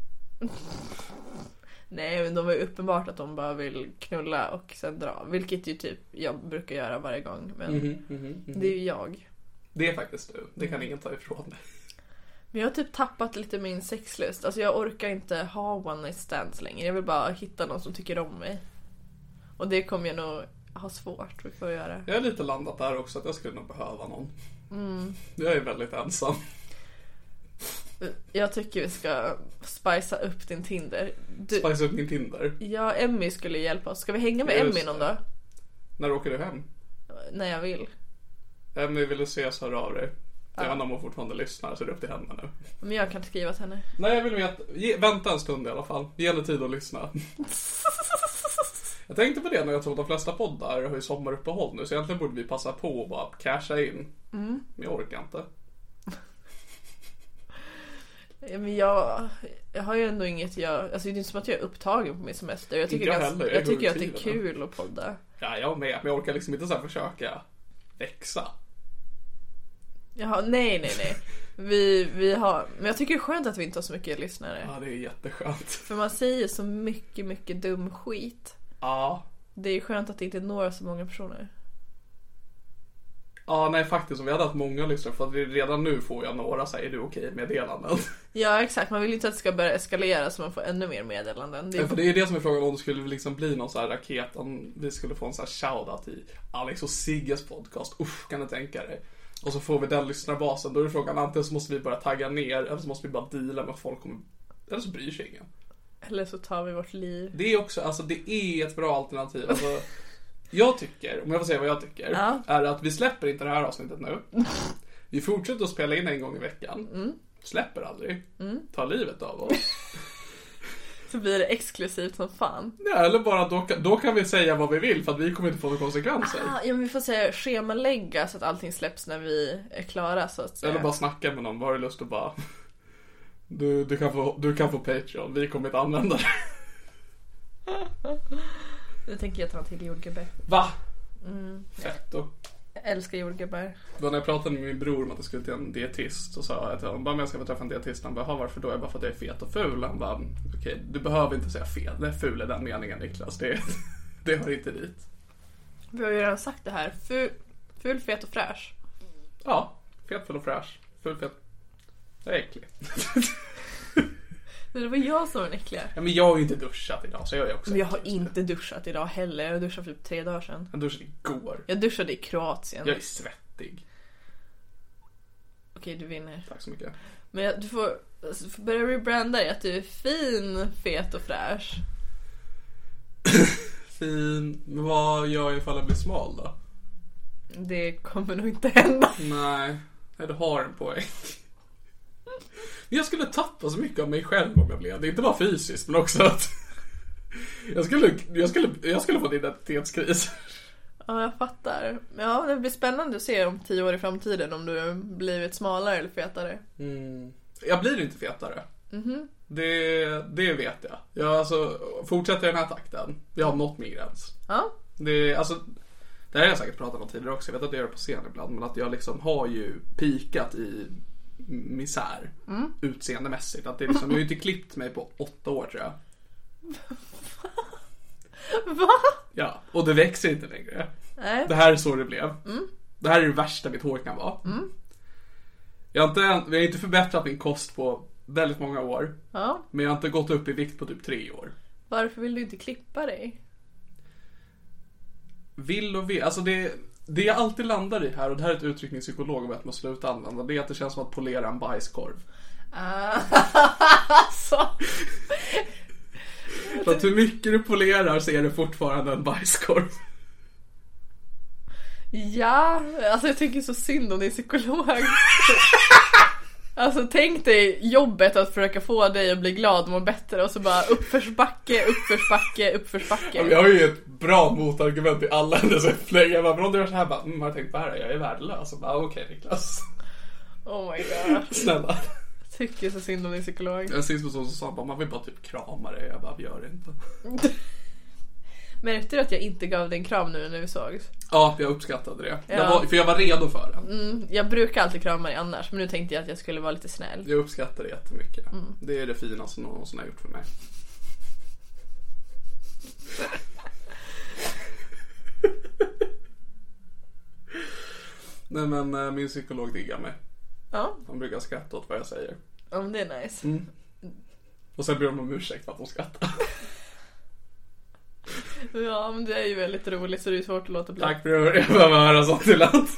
Speaker 3: Nej men de var ju uppenbart att de bara vill knulla och sen dra. Vilket ju typ jag brukar göra varje gång. Men
Speaker 2: Mhm.
Speaker 3: det är ju jag.
Speaker 2: Det är faktiskt du. Det kan ingen ta ifrån dig.
Speaker 3: Men jag har typ tappat lite min sexlust. Alltså jag orkar inte ha one night stands längre. Jag vill bara hitta någon som tycker om mig. Och det kommer jag nog ha svårt för att göra.
Speaker 2: Jag har lite landat där också att jag skulle nog behöva någon. Jag är väldigt ensam.
Speaker 3: Jag tycker vi ska spicea upp din Tinder. Du,
Speaker 2: Spice upp min Tinder.
Speaker 3: ja, Emmy skulle hjälpa oss. Ska vi hänga med
Speaker 2: Just
Speaker 3: Emmy någon
Speaker 2: det.
Speaker 3: dag?
Speaker 2: När åker du hem?
Speaker 3: När jag vill.
Speaker 2: Emmy, vill du ses? Hör av dig. Jag vet inte om hon fortfarande lyssnar så det är upp till henne nu.
Speaker 3: Men jag kan skriva till henne.
Speaker 2: Nej, jag vill veta. Ge, vänta en stund i alla fall. Ge henne tid att lyssna. Jag tänkte på det när jag tog de flesta poddar har ju sommaruppehåll nu så egentligen borde vi passa på och bara casha in. Men jag orkar inte.
Speaker 3: Ja, Men jag, jag har ju ändå inget jag... Alltså det är inte som att jag är upptagen på min semester. Jag tycker,
Speaker 2: Inte jag
Speaker 3: ganska-
Speaker 2: heller, jag
Speaker 3: jag
Speaker 2: går
Speaker 3: tycker
Speaker 2: i
Speaker 3: att det är
Speaker 2: tvivel.
Speaker 3: kul att podda.
Speaker 2: Ja, jag med. Men jag orkar liksom inte så här försöka växa.
Speaker 3: Jaha, nej, nej, nej. Vi, vi har... Men jag tycker det är skönt att vi inte har så mycket lyssnare.
Speaker 2: Ja, det är jätteskönt.
Speaker 3: För man säger så mycket, mycket dum skit.
Speaker 2: Ja.
Speaker 3: Det är skönt att det inte når så många personer.
Speaker 2: Ja, nej faktiskt. Vi hade haft många lyssnare för att vi, redan nu får jag några så här, är du okej meddelanden.
Speaker 3: Ja exakt, man vill ju inte att det ska börja eskalera så man får ännu mer meddelanden. Det är
Speaker 2: för det är det som är frågan om det skulle liksom bli någon så här raket, om vi skulle få en så här shoutout i Alex och Sigges podcast. Usch, kan du tänka dig? Och så får vi den lyssnarbasen. Då är frågan antingen så måste vi börja tagga ner eller så måste vi bara deala med att folk kommer... Eller så bryr sig ingen.
Speaker 3: Eller så tar vi vårt liv.
Speaker 2: Det är också, alltså det är ett bra alternativ. Alltså, jag tycker, om jag får säga vad jag tycker,
Speaker 3: Ja.
Speaker 2: är att vi släpper inte det här avsnittet nu. Vi fortsätter att spela in en gång i veckan.
Speaker 3: Mm.
Speaker 2: Släpper aldrig. Tar livet av oss.
Speaker 3: Så blir det exklusivt som fan.
Speaker 2: Ja, eller bara då, kan- då kan vi säga vad vi vill för att vi kommer inte få några konsekvenser.
Speaker 3: Ah, ja men vi får säga schemalägga så att allting släpps när vi är klara så att säga.
Speaker 2: Eller bara snacka med någon. Vad har du lust att bara... Du, du, kan få, du kan få Patreon. Vi kommer inte använda det.
Speaker 3: Nu tänker jag ta till jordgubbar.
Speaker 2: Va?
Speaker 3: Mm.
Speaker 2: Fett då.
Speaker 3: Jag älskar jordgubbar.
Speaker 2: Då när jag pratade med min bror om att jag skulle till en dietist så sa jag till honom bara men jag ska få träffa en dietist. Han bara, "Ha, varför då? Jag bara för att jag är fet och ful. Han bara, okej du behöver inte säga fel. Det är ful i den meningen Niklas. Det, det hör inte dit.
Speaker 3: Vi har ju redan sagt det här. Ful, ful fet och fräsch.
Speaker 2: Ja, fet, ful och fräsch. Ful, fet. Jag är äcklig.
Speaker 3: Men det var jag som var den äckliga.
Speaker 2: Ja, men jag har ju inte duschat idag så jag är också
Speaker 3: Men jag har inte duschat idag heller. Jag duschade för typ tre dagar sedan.
Speaker 2: Jag duschade igår.
Speaker 3: Jag duschade i Kroatien.
Speaker 2: Jag är svettig.
Speaker 3: Okej, du vinner.
Speaker 2: Tack så mycket.
Speaker 3: Men jag, du får, alltså, du får börja rebranda dig att du är fin, fet och fräsch.
Speaker 2: Fin. Men vad gör jag ifall jag blir smal då?
Speaker 3: Det kommer nog inte hända.
Speaker 2: Nej, nej, du har en poäng. Men Jag skulle tappa så mycket av mig själv om jag blev det. Inte bara fysiskt, men också att... Jag skulle, jag skulle, jag skulle få en identitetskris.
Speaker 3: Ja, jag fattar. Ja, det blir spännande att se om tio år i framtiden om du har blivit smalare eller fetare.
Speaker 2: Jag blir inte fetare. Det, det vet jag. jag alltså, fortsätter jag i den här takten, jag har nått min gräns.
Speaker 3: Ja,
Speaker 2: Det, är- alltså, det här har jag säkert pratat om tidigare också. Jag vet att jag gör det på scen ibland. Men att jag liksom har ju pikat i misär
Speaker 3: Mm.
Speaker 2: utseendemässigt. Att det är liksom, jag har ju inte klippt mig på åtta år tror jag.
Speaker 3: va?
Speaker 2: Ja, och det växer inte längre.
Speaker 3: Nej. Mm.
Speaker 2: Det här är så det blev. Det här är det värsta mitt hår kan vara. Jag, har inte, jag har inte förbättrat min kost på väldigt många år.
Speaker 3: Ja,
Speaker 2: Men jag har inte gått upp i vikt på typ tre år.
Speaker 3: varför vill du inte klippa dig?
Speaker 2: Vill och vill. Alltså det, det jag alltid landar i här, och det här är ett uttryck min psykolog vet att man sluta använda, det är att det känns som att polera en bajskorv.
Speaker 3: Ah, alltså.
Speaker 2: För att hur mycket du polerar så är det fortfarande en bajskorv.
Speaker 3: Ja, alltså jag tycker så synd om din psykolog. Alltså tänk dig jobbet att försöka få dig att bli glad och må bättre och så bara uppförsbacke, uppförsbacke,
Speaker 2: Ja, men Jag
Speaker 3: uppförsbacke.
Speaker 2: har ju ett bra motargument i alla hennes upplägg. Jag bara, men om du gör så här, bara, mm, har jag tänkt på det här? Jag är värdelös. Och bara, "Ah, okej Niklas.
Speaker 3: Oh my god.
Speaker 2: Snälla.
Speaker 3: Tycker så synd om din psykolog.
Speaker 2: Jag syns på sån som sa, bara, man vill bara typ krama dig. Jag bara, vi gör det inte.
Speaker 3: Märkte du att jag inte gav dig en kram nu när vi sågs?
Speaker 2: Ja, jag uppskattade det. Jag
Speaker 3: Ja.
Speaker 2: var, för jag var redo för det.
Speaker 3: Jag brukar alltid krama dig annars men nu tänkte jag att jag skulle vara lite snäll.
Speaker 2: Jag uppskattar det jättemycket. Det är det finaste någon någonsin har gjort för mig. Nej men eh, min psykolog diggar mig.
Speaker 3: Ja,
Speaker 2: Han brukar skratta åt vad jag säger.
Speaker 3: om det är nice.
Speaker 2: Och sen ber de om ursäkt för att de skrattar.
Speaker 3: Ja men det är ju väldigt roligt så det är ju svårt att låta bli.
Speaker 2: Tack bror, jag behöver höra sånt ibland.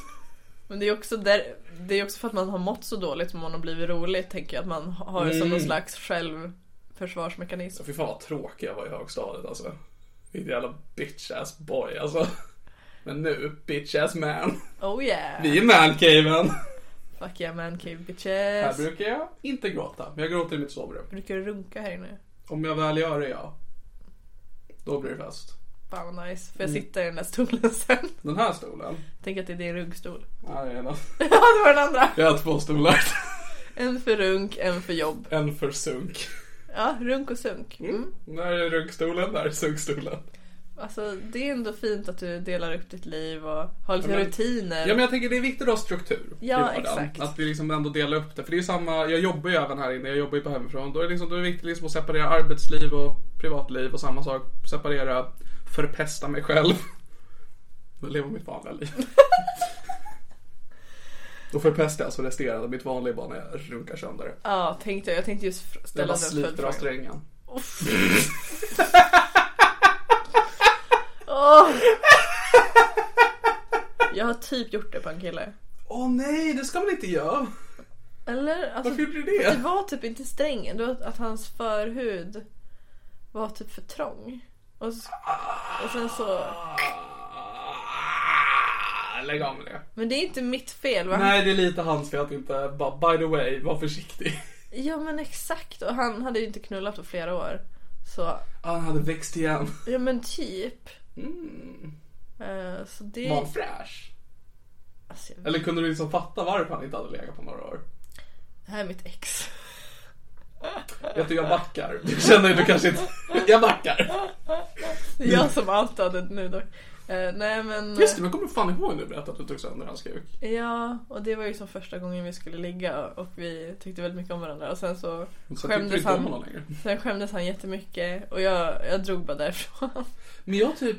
Speaker 3: Men det är också där, det är också för att man har mått så dåligt som man har blivit rolig tänker jag att man har det som
Speaker 2: Mm.
Speaker 3: någon slags självförsvarsmekanism.
Speaker 2: Fy fan vad tråkig jag var i högstadiet alltså. Vilken jävla bitch ass boy alltså. Men nu, bitch ass man.
Speaker 3: Oh yeah!
Speaker 2: Vi är mancaven.
Speaker 3: Fuck yeah man cave
Speaker 2: Här
Speaker 3: bitches.
Speaker 2: brukar jag inte gråta, men jag gråter i mitt sovrum.
Speaker 3: Brukar du runka här inne?
Speaker 2: Om jag väl gör det, ja. Då blir det fest.
Speaker 3: Fan vad nice. Får jag
Speaker 2: Mm.
Speaker 3: sitta i den där stolen sen?
Speaker 2: Den här stolen.
Speaker 3: Tänk att det är din runkstol.
Speaker 2: Ja, det är den.
Speaker 3: ja det var den andra!
Speaker 2: Jag har två stolar.
Speaker 3: En för runk, en för jobb.
Speaker 2: En för sunk.
Speaker 3: Ja, runk och sunk. Mm.
Speaker 2: Där är runkstolen, där är sunkstolen.
Speaker 3: Alltså det är ändå fint att du delar upp ditt liv och har lite
Speaker 2: Ja, men-
Speaker 3: rutiner.
Speaker 2: Ja men jag tänker det är viktigt att ha struktur i
Speaker 3: Ja,
Speaker 2: vardagen.
Speaker 3: exakt.
Speaker 2: Att vi liksom ändå delar upp det. För det är ju samma, jag jobbar ju även här inne, jag jobbar ju på hemifrån. Då är det, liksom, då är det viktigt liksom att separera arbetsliv och privatliv och samma sak. Separera, förpesta mig själv. Och leva mitt vanliga liv. Och för pest är alltså resterande. Mitt vanliga är bara när jag runkar sönder det.
Speaker 3: Ja, tänkte jag. Jag tänkte just fr-
Speaker 2: Jag
Speaker 3: ställa
Speaker 2: bara
Speaker 3: den
Speaker 2: sliter av
Speaker 3: följdfrågan.
Speaker 2: strängen.
Speaker 3: Åh! Jag har typ gjort det på en kille.
Speaker 2: Åh nej, det ska man inte göra.
Speaker 3: Eller? Alltså,
Speaker 2: Varför gjorde du
Speaker 3: det
Speaker 2: det?
Speaker 3: var typ inte strängen, det var att hans förhud var typ för trång. Och, s- och sen så...
Speaker 2: Ah, Lägg av med det.
Speaker 3: Men det är inte mitt fel. Va?
Speaker 2: Nej, det är lite hans fel att inte... Bara, by the way, var försiktig.
Speaker 3: Ja men exakt, och han hade ju inte knullat på flera år. Så,
Speaker 2: Ah, Han hade växt igen.
Speaker 3: ja men typ. Eh, så det...
Speaker 2: Var han Mm. fräsch?
Speaker 3: Alltså, jag-
Speaker 2: Eller kunde du liksom fatta varför han inte hade legat på några år?
Speaker 3: det här är mitt ex.
Speaker 2: Vet du, jag backar. Du känner ju du kanske inte... Jag backar.
Speaker 3: Det är jag som outade nu dock. Eh, nej men...
Speaker 2: Just det, men jag kommer fan ihåg när du berättade att du tog sönder hans kuk.
Speaker 3: Ja, och det var ju som första gången vi skulle ligga och vi tyckte väldigt mycket om varandra och sen så
Speaker 2: Så jag tyckte
Speaker 3: skämdes
Speaker 2: inte om
Speaker 3: han,
Speaker 2: honom längre.
Speaker 3: sen skämdes han jättemycket och jag, jag drog bara därifrån.
Speaker 2: Men jag typ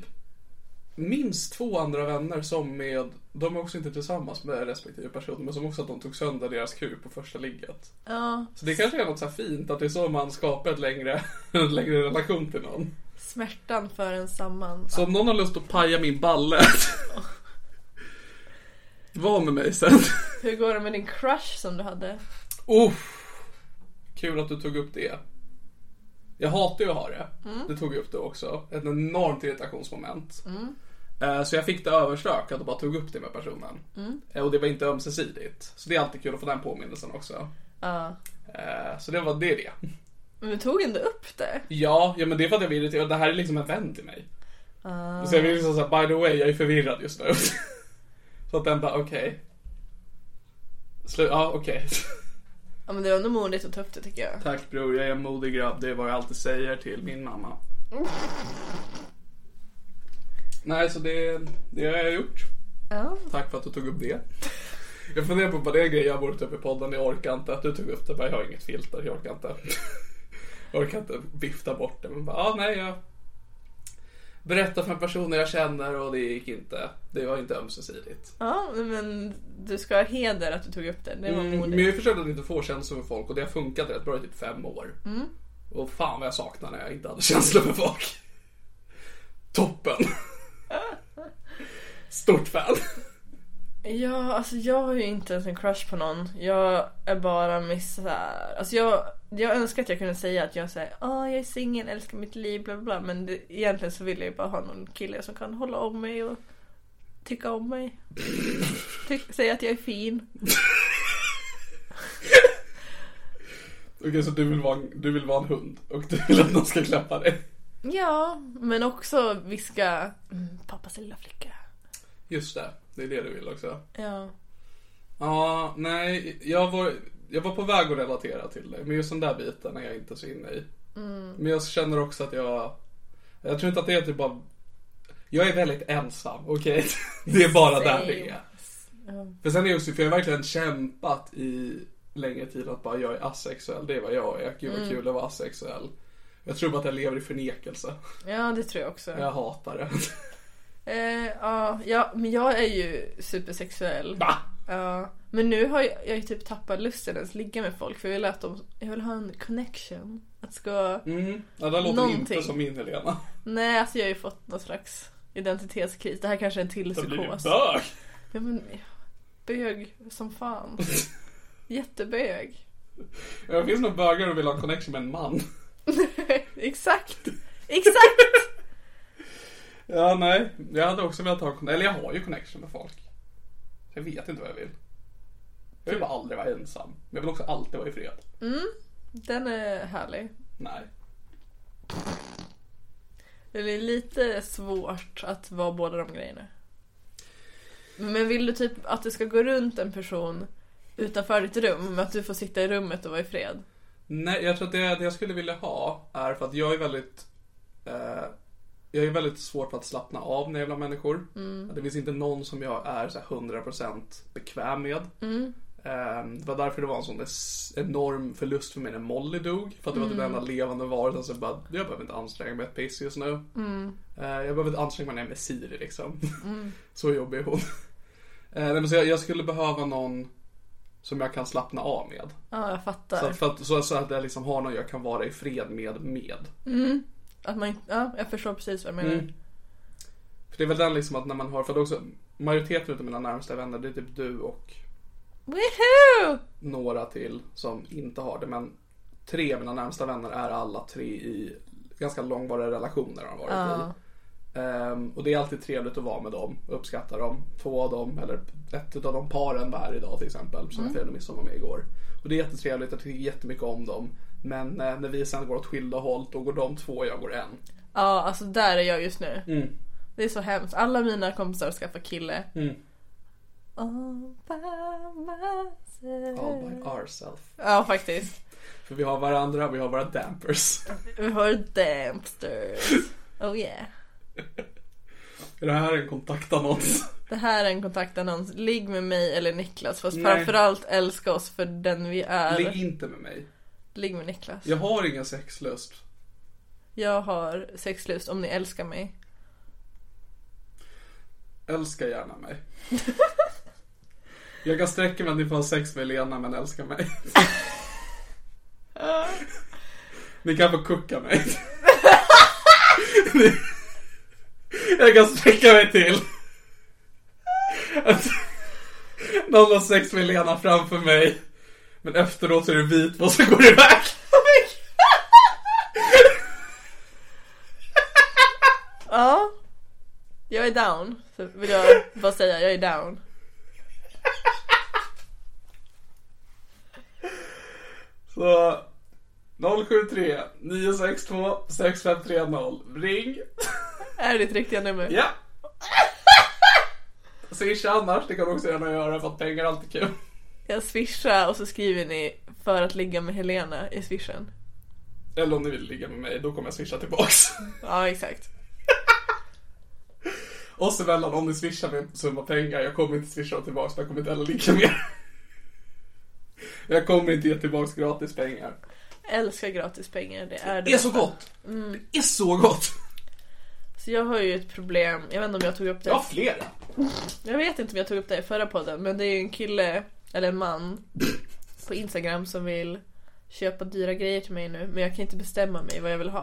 Speaker 2: minns två andra vänner som med, de är också inte tillsammans med respektive person, men som också att de tog sönder deras kuk på första ligget.
Speaker 3: Ja,
Speaker 2: Så det kanske är något så här fint, att det är så man skapar ett längre, en längre relation till någon.
Speaker 3: smärtan för en samman.
Speaker 2: Så om någon har lust att paja min balle, var med mig sen.
Speaker 3: Hur går det med din crush som du hade?
Speaker 2: Uff. Kul att du tog upp det. Jag hatar ju att ha det. Du tog upp det också. Ett enormt irritationsmoment. Eh, Så jag fick det överstökat och bara tog upp det med personen. Eh, Och det var inte ömsesidigt. Så det är alltid kul att få den påminnelsen också.
Speaker 3: Ja.
Speaker 2: Eh, Så det var det. är det.
Speaker 3: Men du tog ändå upp det.
Speaker 2: Ja, ja, men det är för att jag blir irriterad. Det här är liksom en vän till mig. Så jag blir liksom såhär, by the way, jag är förvirrad just nu. så att den bara, okej. Slu- Ja, okej.
Speaker 3: Ja men det var ändå modigt och tufft det tycker jag.
Speaker 2: Tack bror, jag är en modig grabb. Det är vad jag alltid säger till min mamma. Nej, så det, det har jag gjort.
Speaker 3: Ja.
Speaker 2: Tack för att du tog upp det. Jag funderar på vad det är grejer jag borde ta upp i podden. Jag orkar inte att du tog upp det. Bara, jag har inget filter, jag orkar inte. Jag orkar inte vifta bort det. Men bara, ah, nej, jag berättar för personer jag känner och det gick inte. Det var inte ömsesidigt.
Speaker 3: Ja men du ska ha heder att du tog upp det. Det var
Speaker 2: Mm, men jag
Speaker 3: modigt.
Speaker 2: har försökt att inte få känslor för folk och det har funkat rätt bra i typ fem år.
Speaker 3: Mm.
Speaker 2: Och fan vad jag saknar när jag inte hade känslor för folk. Toppen! Stort fan.
Speaker 3: Ja alltså jag har ju inte ens en crush på någon. Jag är bara misär. Alltså jag, jag önskar att jag kunde säga att jag säger åh jag är singel, älskar mitt liv, bla bla bla. Men det, egentligen så vill jag ju bara ha någon kille som kan hålla om mig och tycka om mig. Ty- säga att jag är fin.
Speaker 2: Okej, så du vill, vara, en- du vill vara en hund och du vill att någon ska klappa dig.
Speaker 3: Ja, men också viska mm, pappas lilla flicka.
Speaker 2: Just det, det är det du vill också.
Speaker 3: Ja.
Speaker 2: Ja, nej, jag var, jag var på väg att relatera till dig, men just den där biten är jag inte så inne i.
Speaker 3: Mm.
Speaker 2: Men jag känner också att jag, jag tror inte att det är typ bara, jag är väldigt ensam, okej? Det är bara där det är. För sen är det också, för jag har verkligen kämpat i längre tid att bara jag är asexuell, det är vad jag är, gud
Speaker 3: Mm.
Speaker 2: vad kul att vara asexuell. Jag tror bara att jag lever i förnekelse.
Speaker 3: Ja, det tror jag också.
Speaker 2: Jag hatar det.
Speaker 3: Eh, ja, ja, men jag är ju supersexuell.
Speaker 2: Va?
Speaker 3: Ja. Men nu har jag, jag har ju typ tappat lusten ens ligga med folk för jag vill att de, jag vill ha en connection. Att ska,
Speaker 2: Mm. Ja, det där låter
Speaker 3: Någonting.
Speaker 2: inte som min Helena.
Speaker 3: nej alltså jag har ju fått någon slags identitetskris. Det här kanske är en till
Speaker 2: Då blir du
Speaker 3: psykos.
Speaker 2: bög!
Speaker 3: Ja, men, bög som fan. Jättebög.
Speaker 2: Ja, Det finns nog bögar och vill ha en connection med en man.
Speaker 3: Exakt! Exakt!
Speaker 2: Ja, nej. Jag hade också velat ha en connection. Eller jag har ju connection med folk. Jag vet inte vad jag vill. Jag vill bara aldrig vara ensam. Men jag vill också alltid vara i fred.
Speaker 3: Den är härlig.
Speaker 2: Nej.
Speaker 3: Det är lite svårt att vara båda de grejerna. Men vill du typ att det ska gå runt en person utanför ditt rum, men att du får sitta i rummet och vara i fred?
Speaker 2: Nej, jag tror att det, det jag skulle vilja ha är för att jag är väldigt... Eh, jag är väldigt svårt för att slappna av när jag gäller människor. Det finns inte någon som jag är så här 100% bekväm med. Eh, det var därför det var en sån es- enorm förlust för mig när Molly dog. För att det var typ den enda levande varelsen som bara, jag behöver inte anstränga mig ett piss just nu. Eh, jag behöver inte anstränga mig när jag är med Siri liksom. så jobbig är hon. Eh, nej, men så jag, jag skulle behöva någon som jag kan slappna av med.
Speaker 3: Ja, jag fattar.
Speaker 2: Så att, för att, så, så att jag liksom har någon jag kan vara i fred med, med.
Speaker 3: Att man, inte- ja, jag förstår precis vad du menar.
Speaker 2: Mm. För det är väl den liksom att när man har, för att också majoriteten av mina närmsta vänner det är typ du och
Speaker 3: Woohoo!
Speaker 2: några till som inte har det. Men tre av mina närmsta vänner är alla tre i ganska långvariga relationer har de varit i. Ehm, och det är alltid trevligt att vara med dem, uppskatta dem. Två av dem, eller ett av de paren var här idag till exempel, som jag firade midsommar med igår. Och det är jättetrevligt, jag tycker jättemycket om dem. Men eh, när vi sen går åt skilda håll, då går de två och jag går en.
Speaker 3: Ja, alltså där är jag just nu. Det är så hemskt. Alla mina kompisar skaffar kille.
Speaker 2: Mm.
Speaker 3: All by myself.
Speaker 2: All by Oh ourself.
Speaker 3: Ja, faktiskt.
Speaker 2: För vi har varandra, vi har våra dampers.
Speaker 3: Vi har dampsters. Oh yeah.
Speaker 2: Är det här en kontaktannons?
Speaker 3: Det här är en kontaktannons. Ligg med mig eller Niklas. Fast
Speaker 2: Nej.
Speaker 3: framförallt älska oss för den vi är.
Speaker 2: Ligg
Speaker 3: Ligg,
Speaker 2: inte med mig.
Speaker 3: med Niklas.
Speaker 2: Jag har ingen sexlust.
Speaker 3: Jag har sexlust om ni älskar mig.
Speaker 2: Älska gärna mig. Jag kan sträcka mig att ni får ha sex med Lena men älska mig. Ni kan få kucka mig. Ni- Jag kan sträcka mig till att någon har sex med Lena framför mig. Men efteråt så är det vit vad som går iväg.
Speaker 3: Ja. Jag är down. Så vill jag bara säga, jag är down.
Speaker 2: Så 073 962 6530. Ring.
Speaker 3: Är det ditt riktiga nummer?
Speaker 2: Ja. Swisha annars, det kan du också gärna göra för att pengar är alltid kul.
Speaker 3: Jag swishar och så skriver ni för att ligga med Helena i swishen.
Speaker 2: Eller om ni vill ligga med mig, då kommer jag swisha tillbaks.
Speaker 3: Ja, exakt.
Speaker 2: Oss emellan, om ni swishar med en summa pengar, jag kommer inte swisha dem tillbaks, för jag kommer inte heller ligga med er. Jag kommer inte ge tillbaks gratis pengar.
Speaker 3: Älskar gratis pengar, det är det.
Speaker 2: Det är så gott!
Speaker 3: Mm.
Speaker 2: Det är så gott!
Speaker 3: Så jag har ju ett problem, jag vet inte om jag tog upp det.
Speaker 2: Jag har flera.
Speaker 3: Jag vet inte om jag tog upp det i förra podden, men det är ju en kille, eller en man, på Instagram som vill köpa dyra grejer till mig nu. Men jag kan inte bestämma mig vad jag vill ha.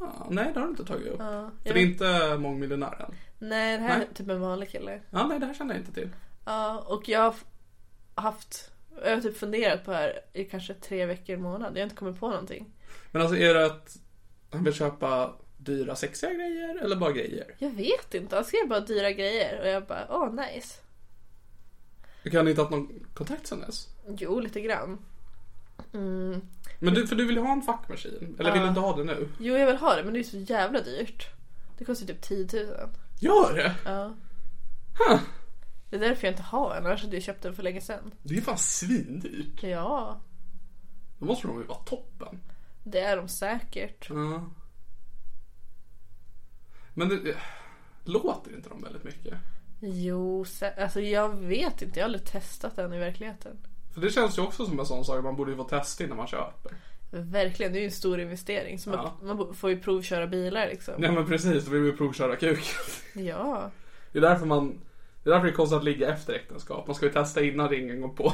Speaker 2: Ah, nej, det har du inte tagit upp.
Speaker 3: jag
Speaker 2: För det är
Speaker 3: vet-
Speaker 2: inte mångmiljonären.
Speaker 3: Nej, det här
Speaker 2: Nej.
Speaker 3: är typ en vanlig kille.
Speaker 2: Ah, nej, det här känner jag inte till.
Speaker 3: Ja, och jag har f- haft, jag har typ funderat på det här i kanske tre veckor, en månad. Jag har inte kommit på någonting.
Speaker 2: Men alltså, är det att han vill köpa dyra sexiga grejer eller bara grejer?
Speaker 3: Jag vet inte, han skrev bara dyra grejer och jag bara åh nice.
Speaker 2: Du kan inte ha haft någon kontakt sen dess?
Speaker 3: Jo, lite grann. Mm.
Speaker 2: Men du, för du vill ju ha en fuckmaskin, eller vill du inte ha det nu?
Speaker 3: Jo, jag vill ha det men det är så jävla dyrt. Det kostar typ 10 000.
Speaker 2: Gör det!
Speaker 3: Ja. Det är därför jag inte har en, annars hade jag köpt den för länge sedan.
Speaker 2: Det är fan svindyrt.
Speaker 3: Ja,
Speaker 2: Då måste de ju vara toppen.
Speaker 3: det är de säkert.
Speaker 2: Ja. Men det, eh, låter inte de väldigt mycket?
Speaker 3: Jo, sä- alltså jag vet inte, jag har aldrig testat den i verkligheten.
Speaker 2: För det känns ju också som en sån sak man borde ju få testa innan man köper.
Speaker 3: Verkligen, det är ju en stor investering. Så man, man bo- får ju provköra bilar liksom.
Speaker 2: Nej men precis, då vill vi ju provköra kuken.
Speaker 3: Ja.
Speaker 2: Det är därför man... Det är därför det är konstigt att ligga efter äktenskap. Man ska ju testa innan ringen går på.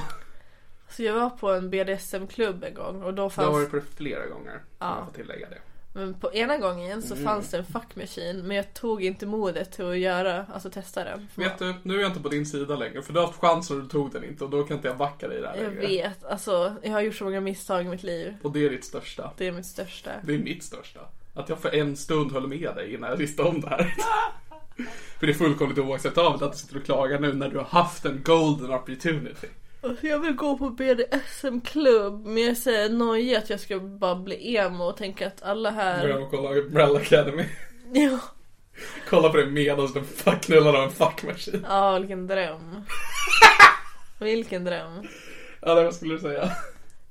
Speaker 3: Så jag var på en BDSM-klubb en gång och då
Speaker 2: Det har
Speaker 3: fanns
Speaker 2: varit på det flera gånger. Ja. Jag får tillägga det.
Speaker 3: Men på ena gången
Speaker 2: Mm.
Speaker 3: så fanns det en fuck machine men jag tog inte modet till att göra, alltså testa den. För
Speaker 2: Vet du, nu är jag inte på din sida längre. För du har haft chansen och du tog den inte. Och då kan inte jag backa dig där
Speaker 3: jag
Speaker 2: längre.
Speaker 3: vet, alltså jag har gjort så många misstag i mitt liv.
Speaker 2: Och det är ditt största.
Speaker 3: Det är mitt största.
Speaker 2: Det är mitt största. Att jag för en stund höll med dig innan jag visste om det här. för det är fullkomligt oacceptabelt att du sitter och klagar nu när du har haft en golden opportunity.
Speaker 3: Alltså, jag vill gå på BDSM-klubb men jag säger nojig att jag ska bara bli emo och tänka att alla här...
Speaker 2: Börja och kolla Umbrella Academy.
Speaker 3: Ja,
Speaker 2: kolla på det medan du fuck knullar av en fuckmaskin.
Speaker 3: ja vilken dröm. Vilken dröm.
Speaker 2: Ja, det vad skulle du säga?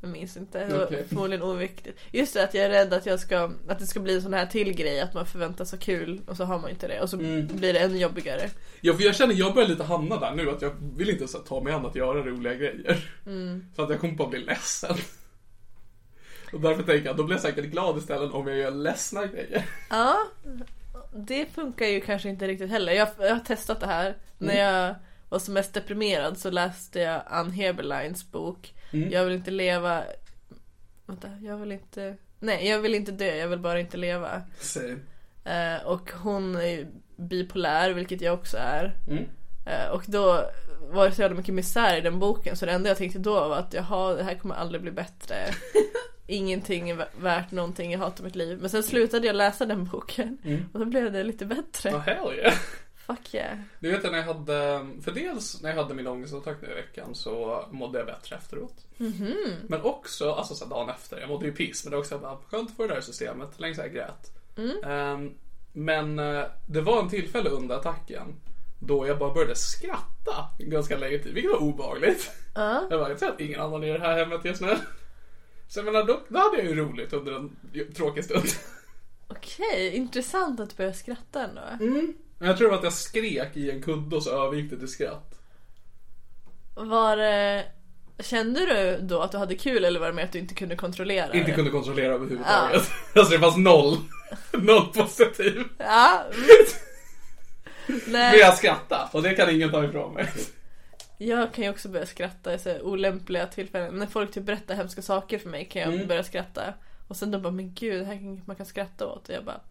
Speaker 3: Jag minns inte, det var
Speaker 2: Okej.
Speaker 3: förmodligen oviktigt. Just det att jag är rädd att, jag ska, att det ska bli en sån här till grej att man förväntas ha kul och så har man inte det och så blir det ännu jobbigare.
Speaker 2: Ja, för jag känner, jag börjar lite hamna där nu att jag vill inte så här, ta mig an att göra roliga grejer. Så att jag kommer bara bli ledsen. Och därför tänker jag, då blir jag säkert glad istället om jag gör ledsna grejer.
Speaker 3: Ja, det funkar ju kanske inte riktigt heller. Jag, jag har testat det här när jag var som mest deprimerad så läste jag Ann Heberleins bok Jag vill inte leva... Vänta, jag vill inte... Nej, jag vill inte dö, jag vill bara inte leva.
Speaker 2: Same.
Speaker 3: Eh, och hon är ju bipolär, vilket jag också är.
Speaker 2: Mm.
Speaker 3: Eh, och då var det så jävla mycket misär i den boken så det enda jag tänkte då var att jaha, det här kommer aldrig bli bättre. Ingenting är vä- värt någonting, jag hatar mitt liv. Men sen slutade jag läsa den boken och då blev det lite bättre.
Speaker 2: Oh, hell yeah.
Speaker 3: Fuck yeah.
Speaker 2: Du vet jag när jag hade, för dels när jag hade min ångestattack nu i veckan så mådde jag bättre efteråt. Men också, alltså så här dagen efter, jag mådde ju piss men det var också bara skönt att få det där systemet, länge så jag grät. Ehm, men eh, det var en tillfälle under attacken då jag bara började skratta ganska länge tid, vilket var obehagligt. Jag bara, jag tror att ingen annan är i det här hemmet just nu. Så jag menar, då, då hade jag ju roligt under en tråkig stund.
Speaker 3: Okej, intressant att börja skratta ändå.
Speaker 2: Mm. Men jag tror det var att jag skrek i en kudde och så övergick det till skratt.
Speaker 3: Var det... Kände du då att du hade kul eller var det mer att du inte kunde kontrollera
Speaker 2: inte
Speaker 3: det?
Speaker 2: kunde kontrollera överhuvudtaget. Alltså det fanns noll. Noll positiv.
Speaker 3: Ja. Nej.
Speaker 2: Men jag skrattade och det kan ingen ta ifrån mig.
Speaker 3: Jag kan ju också börja skratta i så här olämpliga tillfällen. När folk typ berättar hemska saker för mig kan jag börja skratta. Och sen de bara, men gud, det här kan man kan skratta åt. Och jag bara,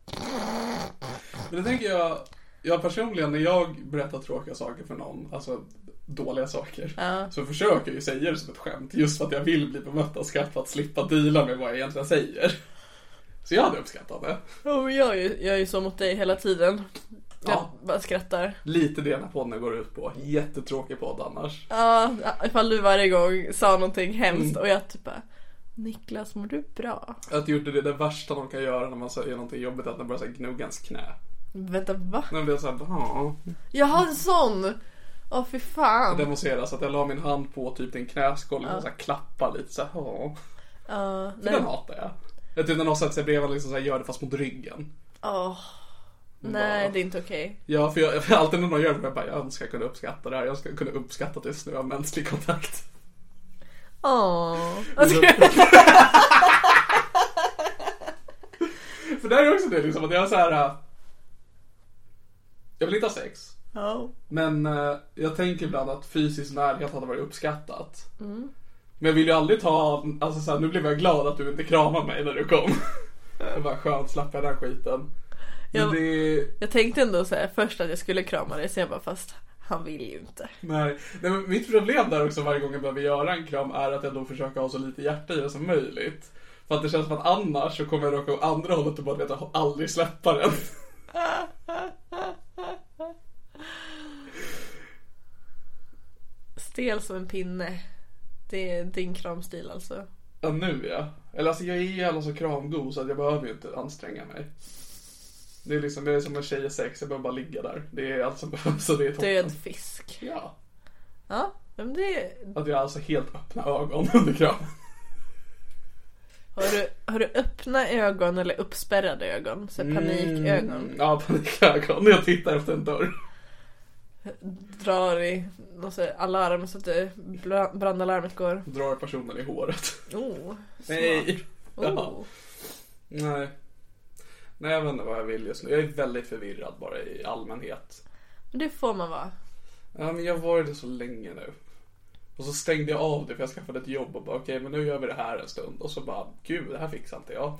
Speaker 2: Men det tänker jag, jag personligen när jag berättar tråkiga saker för någon, alltså dåliga saker, så försöker jag ju säga det som ett skämt just för att jag vill bli bemött av skratt för att slippa deala med vad jag egentligen säger. Så jag hade uppskattat det.
Speaker 3: "Ja, "Oh, men jag, är ju, jag är ju så mot dig hela tiden. Jag
Speaker 2: Ja.
Speaker 3: bara skrattar.
Speaker 2: Lite det den här podden går ut på. Jättetråkig podd annars.
Speaker 3: Ja, ifall du varje gång sa någonting hemskt och jag typ bara, Niklas, mår du bra?
Speaker 2: Att jag gjorde det, det värsta de kan göra när man säger någonting jobbigt är att de börjar så här gnugga ens knä.
Speaker 3: Vänta, va?
Speaker 2: Men det är såhär, ja.
Speaker 3: Jag har en sån! Åh, fy fan.
Speaker 2: demonstrera så att jag la min hand på typ din knäskål och så här klappade lite så här. "Åh."
Speaker 3: Ja,
Speaker 2: För
Speaker 3: nej.
Speaker 2: den hatar jag. Jag typ när någon sätter sig bredvid och liksom så här, gör det fast mot ryggen.
Speaker 3: Åh. nej, det är inte okej.
Speaker 2: Ja, för, jag, för alltid när någon gör det jag bara, jag önskar jag kunde uppskatta det här. Jag skulle kunna uppskatta att det är snö och mänsklig kontakt.
Speaker 3: Åh.
Speaker 2: För där är också det liksom att jag är så här. äh, Jag vill inte ha sex.
Speaker 3: Ja.
Speaker 2: Men eh, jag tänker ibland att fysisk närhet hade varit uppskattat. Men jag vill ju aldrig ta, alltså så här, nu blev jag glad att du inte kramade mig när du kom. Det var skönt, slapp jag den här skiten. Men
Speaker 3: Jag-
Speaker 2: det,
Speaker 3: Jag tänkte ändå så här, först att jag skulle krama dig, sen jag bara fast han vill ju inte.
Speaker 2: nej. nej men mitt problem där också varje gång jag behöver göra en kram är att jag då försöker ha så lite hjärta i det som möjligt. För att det känns som att annars så kommer jag råka åt andra hållet och bara vet att aldrig släppa den.
Speaker 3: Stel som en pinne. Det är din kramstil alltså.
Speaker 2: Ja, nu ja. Eller alltså jag är ju alla så kramgod så att jag behöver ju inte anstränga mig. Det är liksom, det är som en tjej i sex, jag behöver bara ligga där. Det är allt som behövs och det är toppen.
Speaker 3: Död fisk.
Speaker 2: Ja.
Speaker 3: Ja, men det...
Speaker 2: Att jag har alltså helt öppna ögon under kramen.
Speaker 3: Har du, har du öppna ögon eller uppspärrade ögon? Så här panikögon.
Speaker 2: Mm. Ja, panikögon. Jag tittar efter en dörr.
Speaker 3: Drar i något så här alarm så att det bra- brandalarmet går.
Speaker 2: Drar personen i håret.
Speaker 3: Oh, smart.
Speaker 2: Ja.
Speaker 3: Oh.
Speaker 2: Nej. Nej, jag vet inte vad jag vill just nu. Jag är väldigt förvirrad bara i allmänhet.
Speaker 3: Men det får man vara.
Speaker 2: Ja, men jag har varit det så länge nu. Och så stängde jag av det för jag skaffade ett jobb och bara okej, men nu gör vi det här en stund. Och så bara, gud, det här fixar inte jag.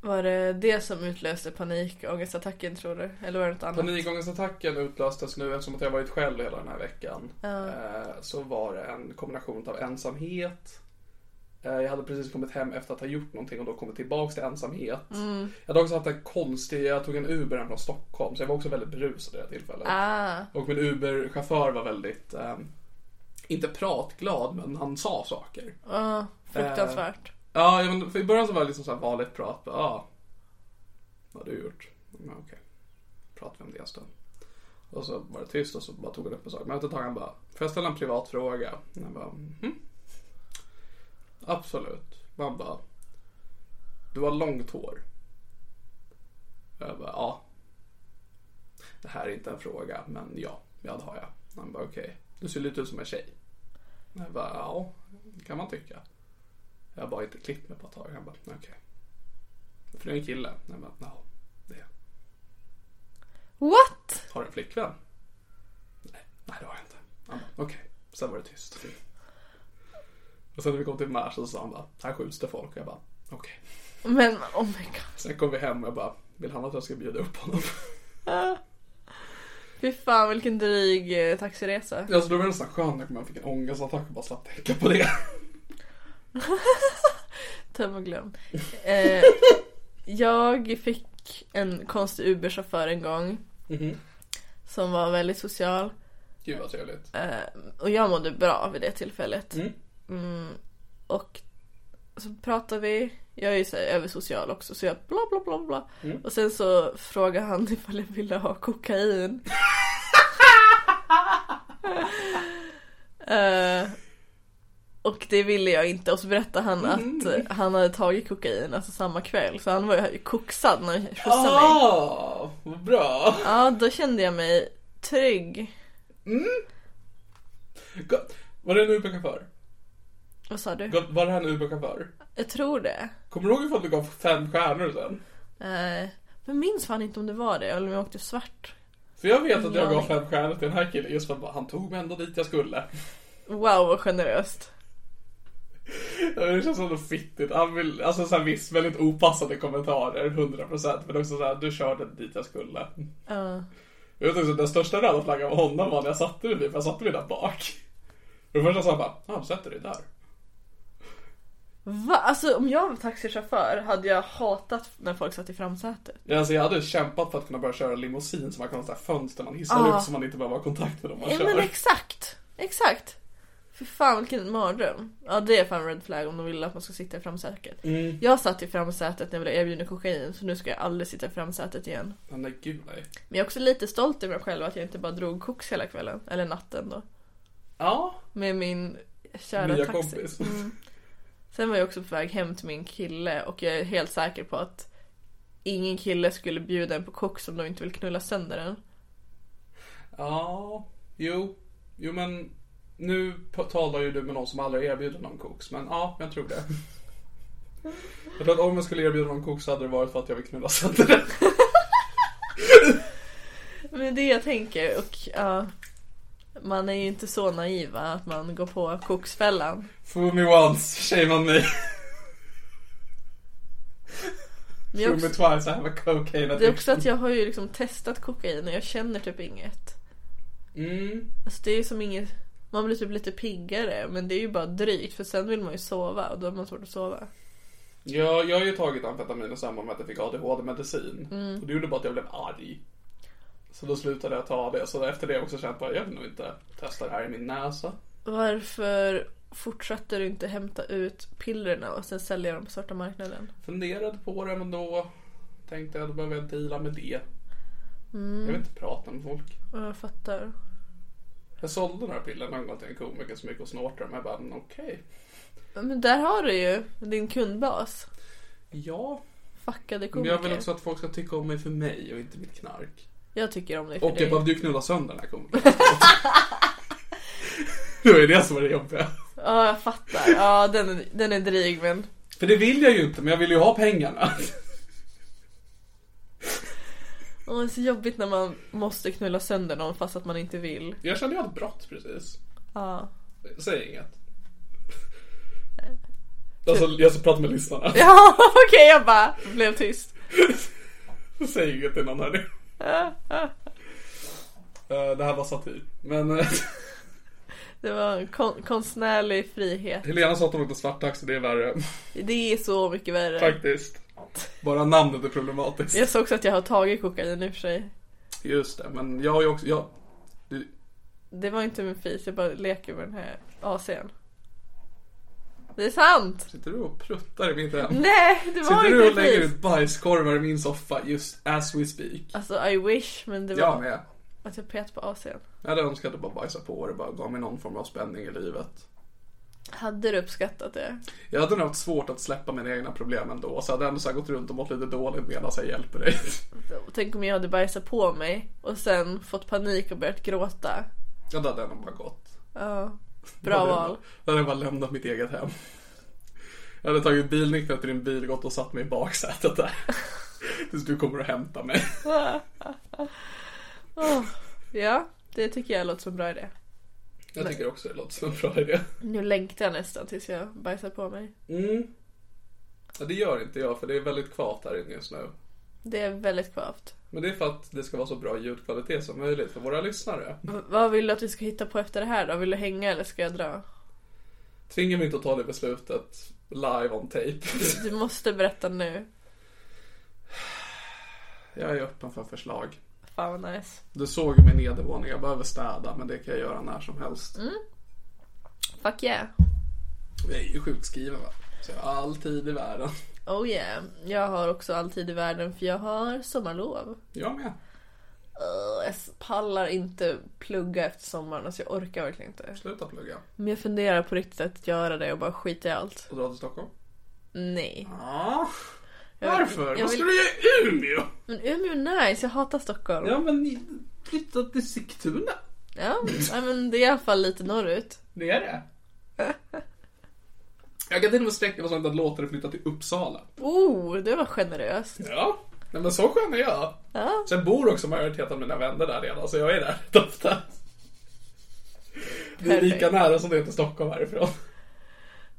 Speaker 3: Var det det som utlöste panikångestattacken tror du? Eller var det något annat?
Speaker 2: Panikångestattacken utlöstes nu eftersom att jag varit själv hela den här veckan. Eh, Så var det en kombination av ensamhet. Eh, Jag hade precis kommit hem efter att ha gjort någonting och då kommit tillbaks till ensamhet. Jag hade också haft en konstig, jag tog en Uber hem från Stockholm så jag var också väldigt berusad vid det här tillfället.
Speaker 3: Ah,
Speaker 2: Och min Uber-chaufför var väldigt, eh, inte pratglad men han sa saker.
Speaker 3: ah, fruktansvärt.
Speaker 2: Ja, ja, men för i början så var det liksom så här vanligt prat. Bara, ah, vad har du gjort? Ja, okej. Pratar vi om det en stund. Och så var det tyst och så bara tog han upp en sak. Men efter ett tag han bara, får jag ställa en privat fråga? Och jag bara, mhm. Absolut. Och Han bara, du har långt hår. Och Jag bara, ja. Det här är inte en fråga, men ja, ja det har jag. Han bara, okej. Du ser lite ut som en tjej. Och Jag bara, ja, det kan man tycka. Jag har bara inte klippt mig på ett tag. Han bara, okej. För du är en kille. Jag bara, ja, det är jag.
Speaker 3: What?
Speaker 2: Har du en flickvän? Nej. Nej, det har jag inte. Han bara, Okej, sen var det tyst. Och sen när vi kom till Märsta så sa han bara, här skjuts det folk. Och jag bara, okej.
Speaker 3: Men oh my god.
Speaker 2: Sen kom vi hem och jag bara, vill han att jag ska bjuda upp honom?
Speaker 3: Fy fan vilken dryg eh, taxiresa.
Speaker 2: Alltså det var nästan skönt när man fick en ångestattack och bara slapp tänka på det.
Speaker 3: Töm och glöm. Eh, jag fick en konstig Uber-chaufför en gång. Som var väldigt social.
Speaker 2: Gud vad trevligt.
Speaker 3: Eh, Och jag mådde bra vid det tillfället.
Speaker 2: Mm.
Speaker 3: Mm, och så pratade vi. Jag är ju så här översocial också så jag bla bla bla bla.
Speaker 2: Mm.
Speaker 3: Och sen så frågade han ifall jag ville ha kokain. Eh, och det ville jag inte och så berättade han att eh,
Speaker 2: Mm.
Speaker 3: han hade tagit kokain alltså samma kväll. Så han var ju koksad när han skjutsade mig.
Speaker 2: Ah, vad bra.
Speaker 3: Ja, då kände jag mig trygg.
Speaker 2: Gott. Var det en Uber-chaufför?
Speaker 3: Vad sa du?
Speaker 2: Gott, Var det här en Uber-chaufför?
Speaker 3: Jag tror det.
Speaker 2: Kommer du ihåg ifall du gav fem stjärnor sen?
Speaker 3: Eh, men minns fan inte om det var det eller om jag åkte svart.
Speaker 2: För jag vet att jag
Speaker 3: Ja.
Speaker 2: gav fem stjärnor till den här killen just för att bara, han tog mig ändå dit jag skulle.
Speaker 3: Wow vad generöst.
Speaker 2: Det känns så fittigt. Han vill, alltså så här, visst, väldigt opassande kommentarer, 100%. Men också så här, du körde dit jag skulle.
Speaker 3: Ja.
Speaker 2: Jag vet också, den största röda flaggan av honom var när jag satte mig vid, för jag satte mig där bak. Och det första sa han bara, ja, ah, sätter dig där.
Speaker 3: Va? Alltså om jag var taxichaufför hade jag hatat när folk satt i framsätet.
Speaker 2: Ja, Alltså, jag hade kämpat för att kunna börja köra limousin så man kan ha så här fönster man hissar upp så man inte behöver ha kontakt med dem man
Speaker 3: Ah. Ja
Speaker 2: kör.
Speaker 3: men exakt. Exakt. För fan vilken mardröm. Ja det är fan red flag om de vill att man ska sitta i framsätet.
Speaker 2: Mm.
Speaker 3: Jag satt i framsätet när jag blev erbjuden kokain så nu ska jag aldrig sitta i framsätet igen.
Speaker 2: Men nej, gud nej.
Speaker 3: Men jag är också lite stolt över mig själv att jag inte bara drog koks hela kvällen. Eller natten då.
Speaker 2: Ja,
Speaker 3: Med min kära
Speaker 2: nya
Speaker 3: taxi.
Speaker 2: kompis.
Speaker 3: Sen var jag också på väg hem till min kille och jag är helt säker på att ingen kille skulle bjuda en på koks om de inte vill knulla sönder den.
Speaker 2: Ja, jo. Jo men, nu p- talar ju du med någon som aldrig erbjuder någon koks. Men ja, jag tror det. Jag tror att om jag skulle erbjuda någon koks så hade det varit för att jag vill knulla sönder den.
Speaker 3: Men det är det jag tänker och ja, man är ju inte så naiv va, att man går på koksfällan.
Speaker 2: Fool me once, shame on me.
Speaker 3: Men jag
Speaker 2: Fool me
Speaker 3: också,
Speaker 2: twice, I have a cocaine
Speaker 3: det är också
Speaker 2: addiction.
Speaker 3: att jag har ju liksom testat kokain och jag känner typ inget.
Speaker 2: Mm,
Speaker 3: Alltså det är ju som inget, man blir typ lite piggare men det är ju bara drygt för sen vill man ju sova och då har man svårt att sova.
Speaker 2: ja, jag har ju tagit amfetamin i samband med att jag fick ADHD-medicin.
Speaker 3: Mm.
Speaker 2: Och det gjorde bara att jag blev arg. Så då slutade jag ta det. Så efter det har jag också känt att jag vill nog inte testa det här i min näsa.
Speaker 3: Varför fortsätter du inte hämta ut pillerna och sen sälja dem på svarta marknaden?
Speaker 2: Funderade på det men då tänkte jag då behöver jag inte ila med det.
Speaker 3: Mm.
Speaker 2: Jag vill inte prata med folk.
Speaker 3: Ja, Jag fattar.
Speaker 2: Jag sålde några piller någon gång till en komiker som gick och snortade dem. Jag bara, men okej.
Speaker 3: Men där har du ju din kundbas.
Speaker 2: Ja,
Speaker 3: Fuckade
Speaker 2: men
Speaker 3: komiker.
Speaker 2: jag vill också att folk ska tycka om mig för mig och inte mitt knark.
Speaker 3: Jag tycker om dig för
Speaker 2: Och jag
Speaker 3: dig.
Speaker 2: behövde ju knulla sönder den här komikern. det var ju det som var det jobbiga.
Speaker 3: Ja, jag fattar. Ja, den är, den är dryg men...
Speaker 2: För det vill jag ju inte, men jag vill ju ha pengarna.
Speaker 3: Åh, det är så jobbigt när man måste knulla sönder någon fast att man inte vill.
Speaker 2: Jag kände ju ett brott precis.
Speaker 3: Ja.
Speaker 2: Säg inget.
Speaker 3: Typ.
Speaker 2: Alltså, jag ska prata med lyssnarna.
Speaker 3: Ja, okej jag bara blev tyst.
Speaker 2: Säg inget till någon hörni. Eh, Det här var satir. Men eh,
Speaker 3: Det var kon- konstnärlig frihet.
Speaker 2: Helena sa att hon åkte svarttaxi, det är värre.
Speaker 3: Det är så mycket värre.
Speaker 2: Faktiskt. Bara namnet är problematiskt.
Speaker 3: Jag såg också att jag har tagit kokain i och för sig.
Speaker 2: Just det, men jag har ju också... Jag, du,
Speaker 3: Det var inte min fis, jag bara leker med den här AC'n. Det är sant!
Speaker 2: sitter du och pruttar i mitt hem?
Speaker 3: Nej, det var
Speaker 2: sitter du och
Speaker 3: inte
Speaker 2: lägger
Speaker 3: min
Speaker 2: ut
Speaker 3: fis.
Speaker 2: bajskorvar i min soffa just as we speak?
Speaker 3: Alltså I wish, men det
Speaker 2: Jag
Speaker 3: var
Speaker 2: med.
Speaker 3: att jag pet på AC'n.
Speaker 2: Jag hade önskat att bara bajsa på det bara gav mig någon form av spänning i livet.
Speaker 3: Hade du uppskattat det?
Speaker 2: Jag hade nog haft svårt att släppa mina egna problem ändå, så jag hade ändå så här gått runt och mått lite dåligt medan jag hjälper dig.
Speaker 3: Tänk om jag hade bajsat på mig och sen fått panik och börjat gråta.
Speaker 2: Ja, då hade jag nog bara gått.
Speaker 3: Ja,
Speaker 2: Då
Speaker 3: bra
Speaker 2: hade jag
Speaker 3: val.
Speaker 2: bara- Då hade jag bara lämnat mitt eget hem. Jag hade tagit bilnyckeln till din bil, gått och satt mig i baksätet där. Tills du kommer och hämtar mig.
Speaker 3: Åh, ja, Det tycker jag låter som en bra idé.
Speaker 2: Jag tycker också det låter som en bra idé.
Speaker 3: Nu längtar jag nästan tills jag bajsar på mig.
Speaker 2: Mm. Ja, det gör inte jag för det är väldigt kvavt här inne just nu.
Speaker 3: Det är väldigt kvavt.
Speaker 2: Men det är för att det ska vara så bra ljudkvalitet som möjligt för våra lyssnare.
Speaker 3: V- vad vill du att vi ska hitta på efter det här då? Vill du hänga eller ska jag dra?
Speaker 2: Tvinga mig inte att ta det beslutet live on tape.
Speaker 3: Du måste berätta nu.
Speaker 2: Jag är öppen för förslag.
Speaker 3: Fan vad nice.
Speaker 2: Du såg ju min nedervåning, jag behöver städa men det kan jag göra när som helst.
Speaker 3: Fuck yeah.
Speaker 2: Jag är ju sjukskriven va? Så jag har all tid i världen.
Speaker 3: Oh yeah. Jag har också all tid i världen för jag har sommarlov.
Speaker 2: Jag med.
Speaker 3: Ugh, jag s- pallar inte plugga efter sommaren, alltså jag orkar verkligen inte.
Speaker 2: Sluta plugga.
Speaker 3: Men jag funderar på riktigt att göra det och bara skita i allt.
Speaker 2: Och dra till Stockholm?
Speaker 3: Nej.
Speaker 2: Ja.
Speaker 3: Jag-
Speaker 2: Varför?
Speaker 3: jag
Speaker 2: Vad
Speaker 3: vill-
Speaker 2: ska du göra i Umeå?
Speaker 3: Men Umeå är nice, jag hatar Stockholm.
Speaker 2: Ja men flytta till Sigtuna.
Speaker 3: Ja, nej, men det är i alla fall lite norrut.
Speaker 2: Det är det. Jag kan till och med sträcka mig så att låta dig flytta till Uppsala.
Speaker 3: Oh, det var generöst.
Speaker 2: Ja. Nej men så skön är jag.
Speaker 3: Ja.
Speaker 2: Sen bor också majoriteten av mina vänner där redan, så jag är där rätt ofta. Det är lika
Speaker 3: Perfekt.
Speaker 2: nära som det är till Stockholm härifrån.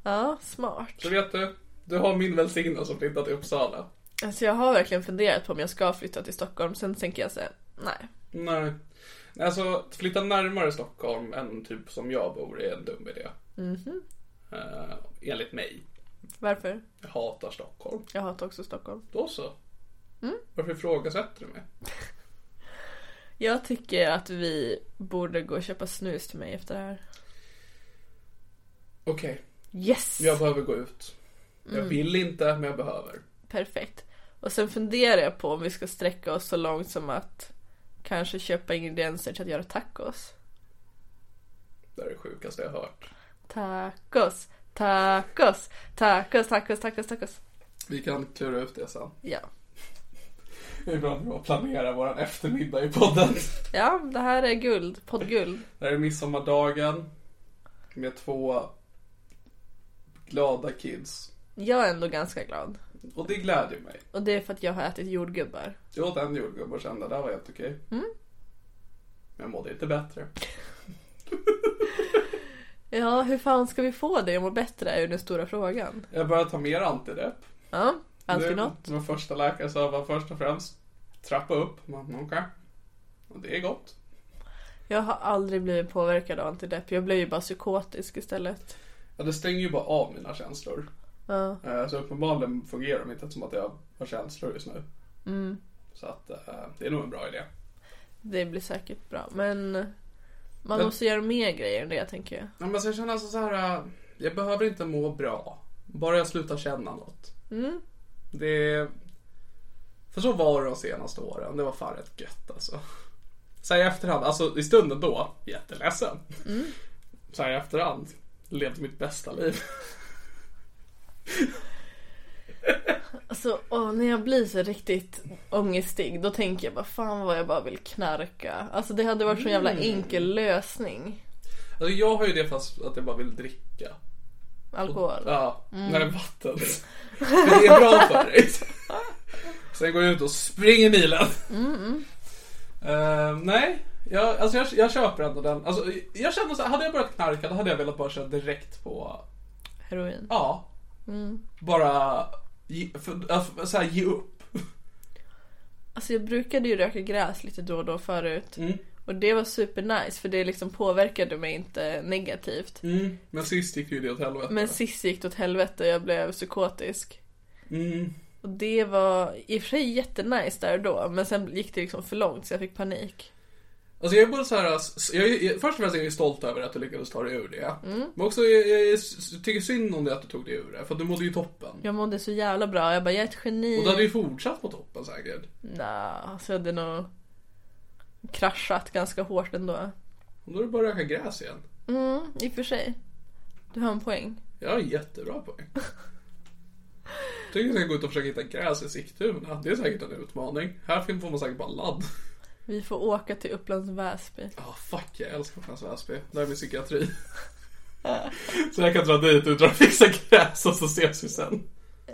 Speaker 3: Ja, smart.
Speaker 2: Så vet du, du har min välsignelse att flytta till Uppsala.
Speaker 3: Alltså jag har verkligen funderat på om jag ska flytta till Stockholm, sen tänker jag säga nej.
Speaker 2: Nej. Alltså, att flytta närmare Stockholm än typ som jag bor är en dum idé. Eh, enligt mig.
Speaker 3: Varför?
Speaker 2: Jag hatar Stockholm.
Speaker 3: Jag hatar också Stockholm.
Speaker 2: Då så. Varför ifrågasätter du mig?
Speaker 3: Jag tycker att vi borde gå och köpa snus till mig efter det här.
Speaker 2: Okej,
Speaker 3: Yes!
Speaker 2: jag behöver gå ut. Jag vill inte, men jag behöver.
Speaker 3: Perfekt. Och sen funderar jag på om vi ska sträcka oss så långt som att kanske köpa ingredienser till att göra tacos.
Speaker 2: Det är det sjukaste jag har hört.
Speaker 3: Tacos, tacos, tacos, tacos, tacos, tacos.
Speaker 2: Vi kan klura ut det sen.
Speaker 3: Ja.
Speaker 2: Det är bra att vi har planerat våran eftermiddag i podden.
Speaker 3: Ja, det här är guld, poddguld.
Speaker 2: Det här är midsommardagen med två glada kids.
Speaker 3: Jag är ändå ganska glad.
Speaker 2: Och det glädjer mig.
Speaker 3: Och det är för att jag har ätit jordgubbar.
Speaker 2: Jag åt en jordgubbe och kände att det här var helt okej. Men
Speaker 3: Mm.
Speaker 2: jag mådde inte bättre.
Speaker 3: Ja, hur fan ska vi få dig att må bättre är ju den stora frågan.
Speaker 2: Jag började ta mer antidepp.
Speaker 3: Ja, alltid
Speaker 2: Det-
Speaker 3: något.
Speaker 2: Det var första läkaren sa var först och främst trappa upp. Man, okej. Och det är gott.
Speaker 3: Jag har aldrig blivit påverkad av antidepp. Jag blev ju bara psykotisk istället.
Speaker 2: Ja, det stänger ju bara av mina känslor.
Speaker 3: Ja.
Speaker 2: Eh, Så uppenbarligen fungerar de inte som att jag har känslor just nu.
Speaker 3: Mm.
Speaker 2: Så att eh, det är nog en bra idé.
Speaker 3: Det blir säkert bra, men man
Speaker 2: Men-
Speaker 3: måste göra mer grejer än det tänker jag.
Speaker 2: Ja, men sen känner jag så här. eh, Jag behöver inte må bra. Bara jag slutar känna något. Det... För så var det de senaste åren. Det var fan rätt gött alltså. Så här i efterhand, alltså i stunden då, jätteledsen. Så här i efterhand, levde mitt bästa liv.
Speaker 3: Alltså, åh, när jag blir så riktigt ångestig då tänker jag bara fan vad jag bara vill knarka. Alltså det hade varit så jävla enkel lösning.
Speaker 2: Alltså jag har ju det fast att jag bara vill dricka.
Speaker 3: Alkohol.
Speaker 2: Ja, nej vatten. Men det är bra för dig. Sen går jag ut och springer milen. Eh, nej, jag, alltså jag, jag köper ändå den. Alltså, jag känner så här, hade jag börjat knarka då hade jag velat bara köra direkt på,
Speaker 3: Heroin.
Speaker 2: ja. Bara ge, för, äh, för, så här, ge upp.
Speaker 3: Alltså jag brukade ju röka gräs lite då och då förut. Och det var supernice för det liksom påverkade mig inte negativt.
Speaker 2: Men sist gick ju det åt helvete.
Speaker 3: Men sist gick det åt helvete jag blev psykotisk. Och det var i och för sig jättenice där och då men sen gick det liksom för långt så jag fick panik.
Speaker 2: Alltså jag är både så här, s- jag är, jag- först och främst är jag ju stolt över att du lyckades ta dig ur det. Men också jag, jag, jag s- tycker synd om det att du tog dig ur det, för att du mådde ju toppen.
Speaker 3: Jag mådde så jävla bra, jag bara jag är ett geni.
Speaker 2: Och du hade ju fortsatt på toppen säkert.
Speaker 3: Nja, alltså jag hade nog kraschat ganska hårt ändå.
Speaker 2: Och då har du börjat röka gräs igen.
Speaker 3: Mm, i och för sig. Du har en poäng.
Speaker 2: Jag har en jättebra poäng. Tycker jag ska gå ut och försöka hitta gräs i Sigtuna. Det är säkert en utmaning. Här fin- får man säkert bara ladd.
Speaker 3: Vi får åka till Upplands Väsby.
Speaker 2: Ah fuck, jag älskar Upplands Väsby. Där är min psykiatri. så jag kan dra dit och dra och fixa gräs och så ses vi sen.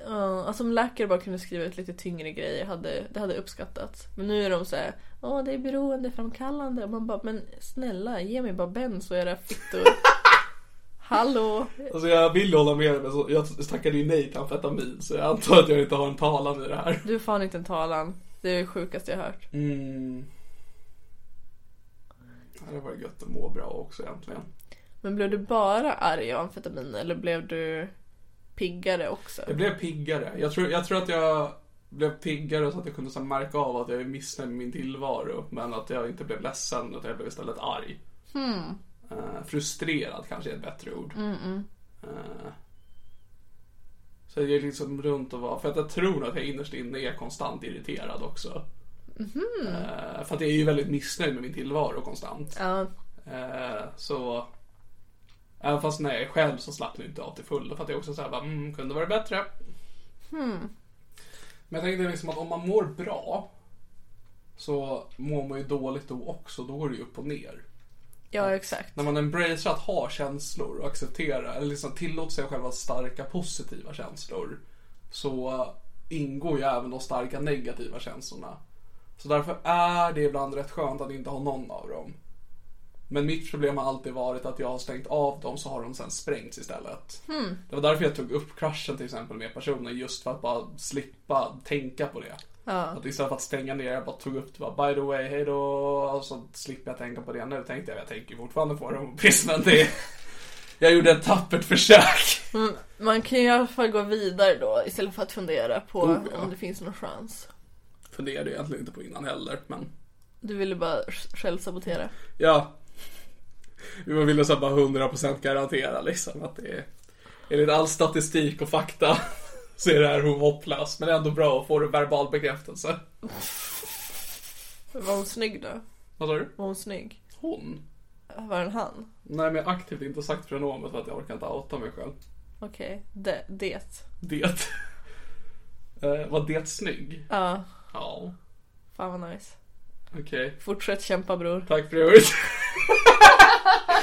Speaker 3: Ja, alltså om läkare bara kunde skriva ut lite tyngre grejer hade det hade uppskattats. Men nu är de så här, åh det är beroendeframkallande. Och man bara, men snälla ge mig bara Ben så är det fittor. Hallå!
Speaker 2: Alltså jag vill ju hålla med dig men så, jag tackade ju nej till amfetamin så jag antar att jag inte har en talan i det här.
Speaker 3: Du är fan inte en talan. Det är det sjukaste jag hört.
Speaker 2: Mm. Det hade varit gött att må bra också egentligen.
Speaker 3: Men blev du bara arg av amfetamin eller blev du piggare också?
Speaker 2: Jag blev piggare. Jag tror, jag tror att jag blev piggare så att jag kunde så här märka av att jag är missnöjd med min tillvaro. Men att jag inte blev ledsen utan jag blev istället arg. Eh, frustrerad kanske är ett bättre ord. Eh, så jag gick liksom runt och var, för att jag tror att jag innerst inne är konstant irriterad också. Eh, för att jag är ju väldigt missnöjd med min tillvaro konstant.
Speaker 3: Ja,
Speaker 2: Eh, så även fast när jag är själv så slappnar jag inte av till fullo för att jag också såhär bara, mm, kunde varit bättre. Men jag tänkte liksom att om man mår bra så mår man ju dåligt då också, då går det ju upp och ner.
Speaker 3: ja exakt.
Speaker 2: När man embracerar att ha känslor och acceptera, eller liksom tillåter sig själv att ha starka positiva känslor, så ingår ju även de starka negativa känslorna. Så därför är det ibland rätt skönt att inte ha någon av dem. Men mitt problem har alltid varit att jag har stängt av dem så har de sen sprängts istället. Det var därför jag tog upp crushen till exempel med personen, just för att bara slippa tänka på det. Att istället för att stänga ner, jag bara tog upp det bara, by the way, hej då. Och så slipper jag tänka på det nu, tänkte jag. Jag tänker ju fortfarande på det och piss, men det... Jag gjorde ett tappert försök.
Speaker 3: Men man kan ju i alla fall gå vidare då istället för att fundera på
Speaker 2: Oh, ja.
Speaker 3: om det finns någon chans.
Speaker 2: Funderade jag egentligen inte på innan heller, men...
Speaker 3: Du ville bara sj- själv sabotera.
Speaker 2: Ja. Vi ville så här bara 100% garantera liksom att det är... Enligt all statistik och fakta så är det här hopplöst. Men det är ändå bra att få en verbal bekräftelse.
Speaker 3: Var hon snygg då?
Speaker 2: Vad sa du?
Speaker 3: Var hon snygg?
Speaker 2: Hon?
Speaker 3: Var den han?
Speaker 2: Nej, men jag har aktivt inte sagt pronomet för att jag orkar inte outa mig själv.
Speaker 3: Okej, det. det.
Speaker 2: Det. Eh, var det snygg?
Speaker 3: Ja,
Speaker 2: Ja.
Speaker 3: fan vad nice.
Speaker 2: Okej.
Speaker 3: Fortsätt kämpa bror.
Speaker 2: Tack för övrigt.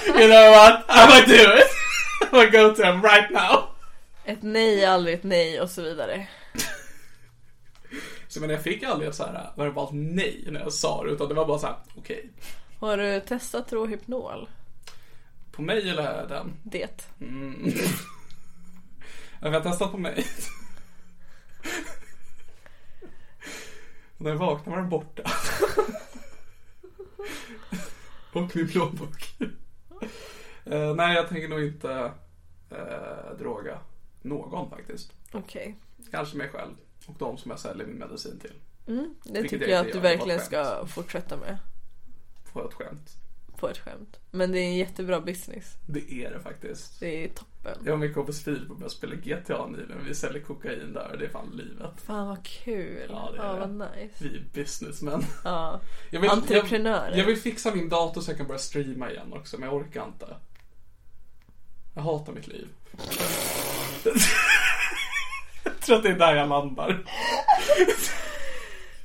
Speaker 2: you know what? I'm gonna do it. I'm gonna go to him right now.
Speaker 3: Ett nej är aldrig ett nej och så vidare.
Speaker 2: Så men jag fick aldrig så här verbalt nej när jag sa det utan det var bara så här okej.
Speaker 3: Har du testat Rohypnol?
Speaker 2: På mig eller den?
Speaker 3: Det.
Speaker 2: Mm. jag har testat på mig. Och när jag vaknade var den borta. Och min plånbok. Eh, nej, jag tänker nog inte eh, droga någon faktiskt.
Speaker 3: Okej.
Speaker 2: Kanske mig själv och de som jag säljer min medicin till.
Speaker 3: Det
Speaker 2: Vilket
Speaker 3: tycker
Speaker 2: jag inte
Speaker 3: jag att du
Speaker 2: gör, det var
Speaker 3: verkligen
Speaker 2: skämt.
Speaker 3: ska fortsätta med.
Speaker 2: På ett skämt.
Speaker 3: På ett skämt. Men det är en jättebra business.
Speaker 2: Det är det faktiskt.
Speaker 3: Det är toppen.
Speaker 2: Jag och min kompis Filip har börjat spela GTA nu men vi säljer kokain där och det är fan livet.
Speaker 3: Fan vad kul.
Speaker 2: Ja, det är
Speaker 3: vad
Speaker 2: det.
Speaker 3: nice.
Speaker 2: Vi är businessmen.
Speaker 3: Ja.
Speaker 2: Jag vill,
Speaker 3: Entreprenörer.
Speaker 2: Jag, jag vill fixa min dator så jag kan börja streama igen också men jag orkar inte. Jag hatar mitt liv. jag tror att det är där jag landar.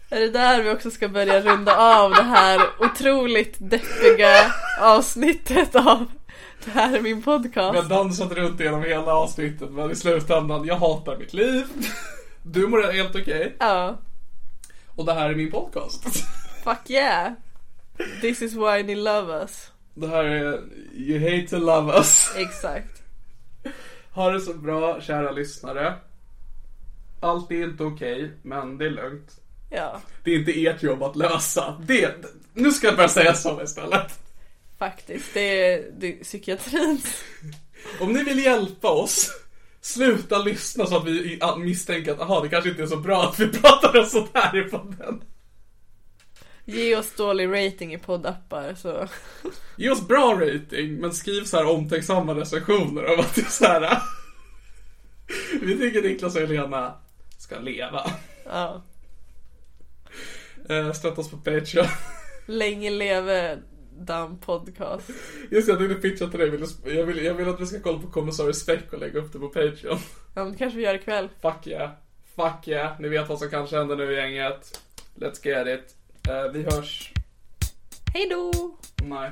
Speaker 3: Är det där vi också ska börja runda av det här otroligt deppiga avsnittet av Det här är min
Speaker 2: Jag har
Speaker 3: podcast.
Speaker 2: dansat runt genom hela avsnittet men i slutändan, jag hatar mitt liv. Du mår helt okej.
Speaker 3: Ja.
Speaker 2: Och det här är min podcast.
Speaker 3: Fuck yeah. This is why ni love us.
Speaker 2: Det här är You Hate To Love Us.
Speaker 3: Exakt.
Speaker 2: Ha det så bra, kära lyssnare. Allt är inte okej, men det är lugnt.
Speaker 3: Ja,
Speaker 2: Det är inte ert jobb att lösa. Det, nu ska jag börja säga så istället.
Speaker 3: faktiskt. Det är, det är psykiatrins.
Speaker 2: Om ni vill hjälpa oss, sluta lyssna så att vi i- a- misstänker att aha, det kanske inte är så bra att vi pratar om sånt här i podden.
Speaker 3: Ge oss dålig rating i poddappar så
Speaker 2: Ge oss bra rating, men skriv så här omtänksamma recensioner om att det är så här. äh, Vi tycker Niklas och Helena ska leva.
Speaker 3: ja.
Speaker 2: Eh, Stötta oss på Patreon.
Speaker 3: Länge leve damm podcast.
Speaker 2: Just det, jag tänkte pitcha till dig. Jag vill, jag, vill, jag vill att vi ska kolla på Kommissarie Speck och lägga upp det på Patreon.
Speaker 3: Ja, men det kanske vi gör ikväll.
Speaker 2: Fuck yeah. Fuck yeah. Ni vet vad som kanske händer nu gänget. Let's get it. Eh, vi hörs.
Speaker 3: Hej då!
Speaker 2: Nej.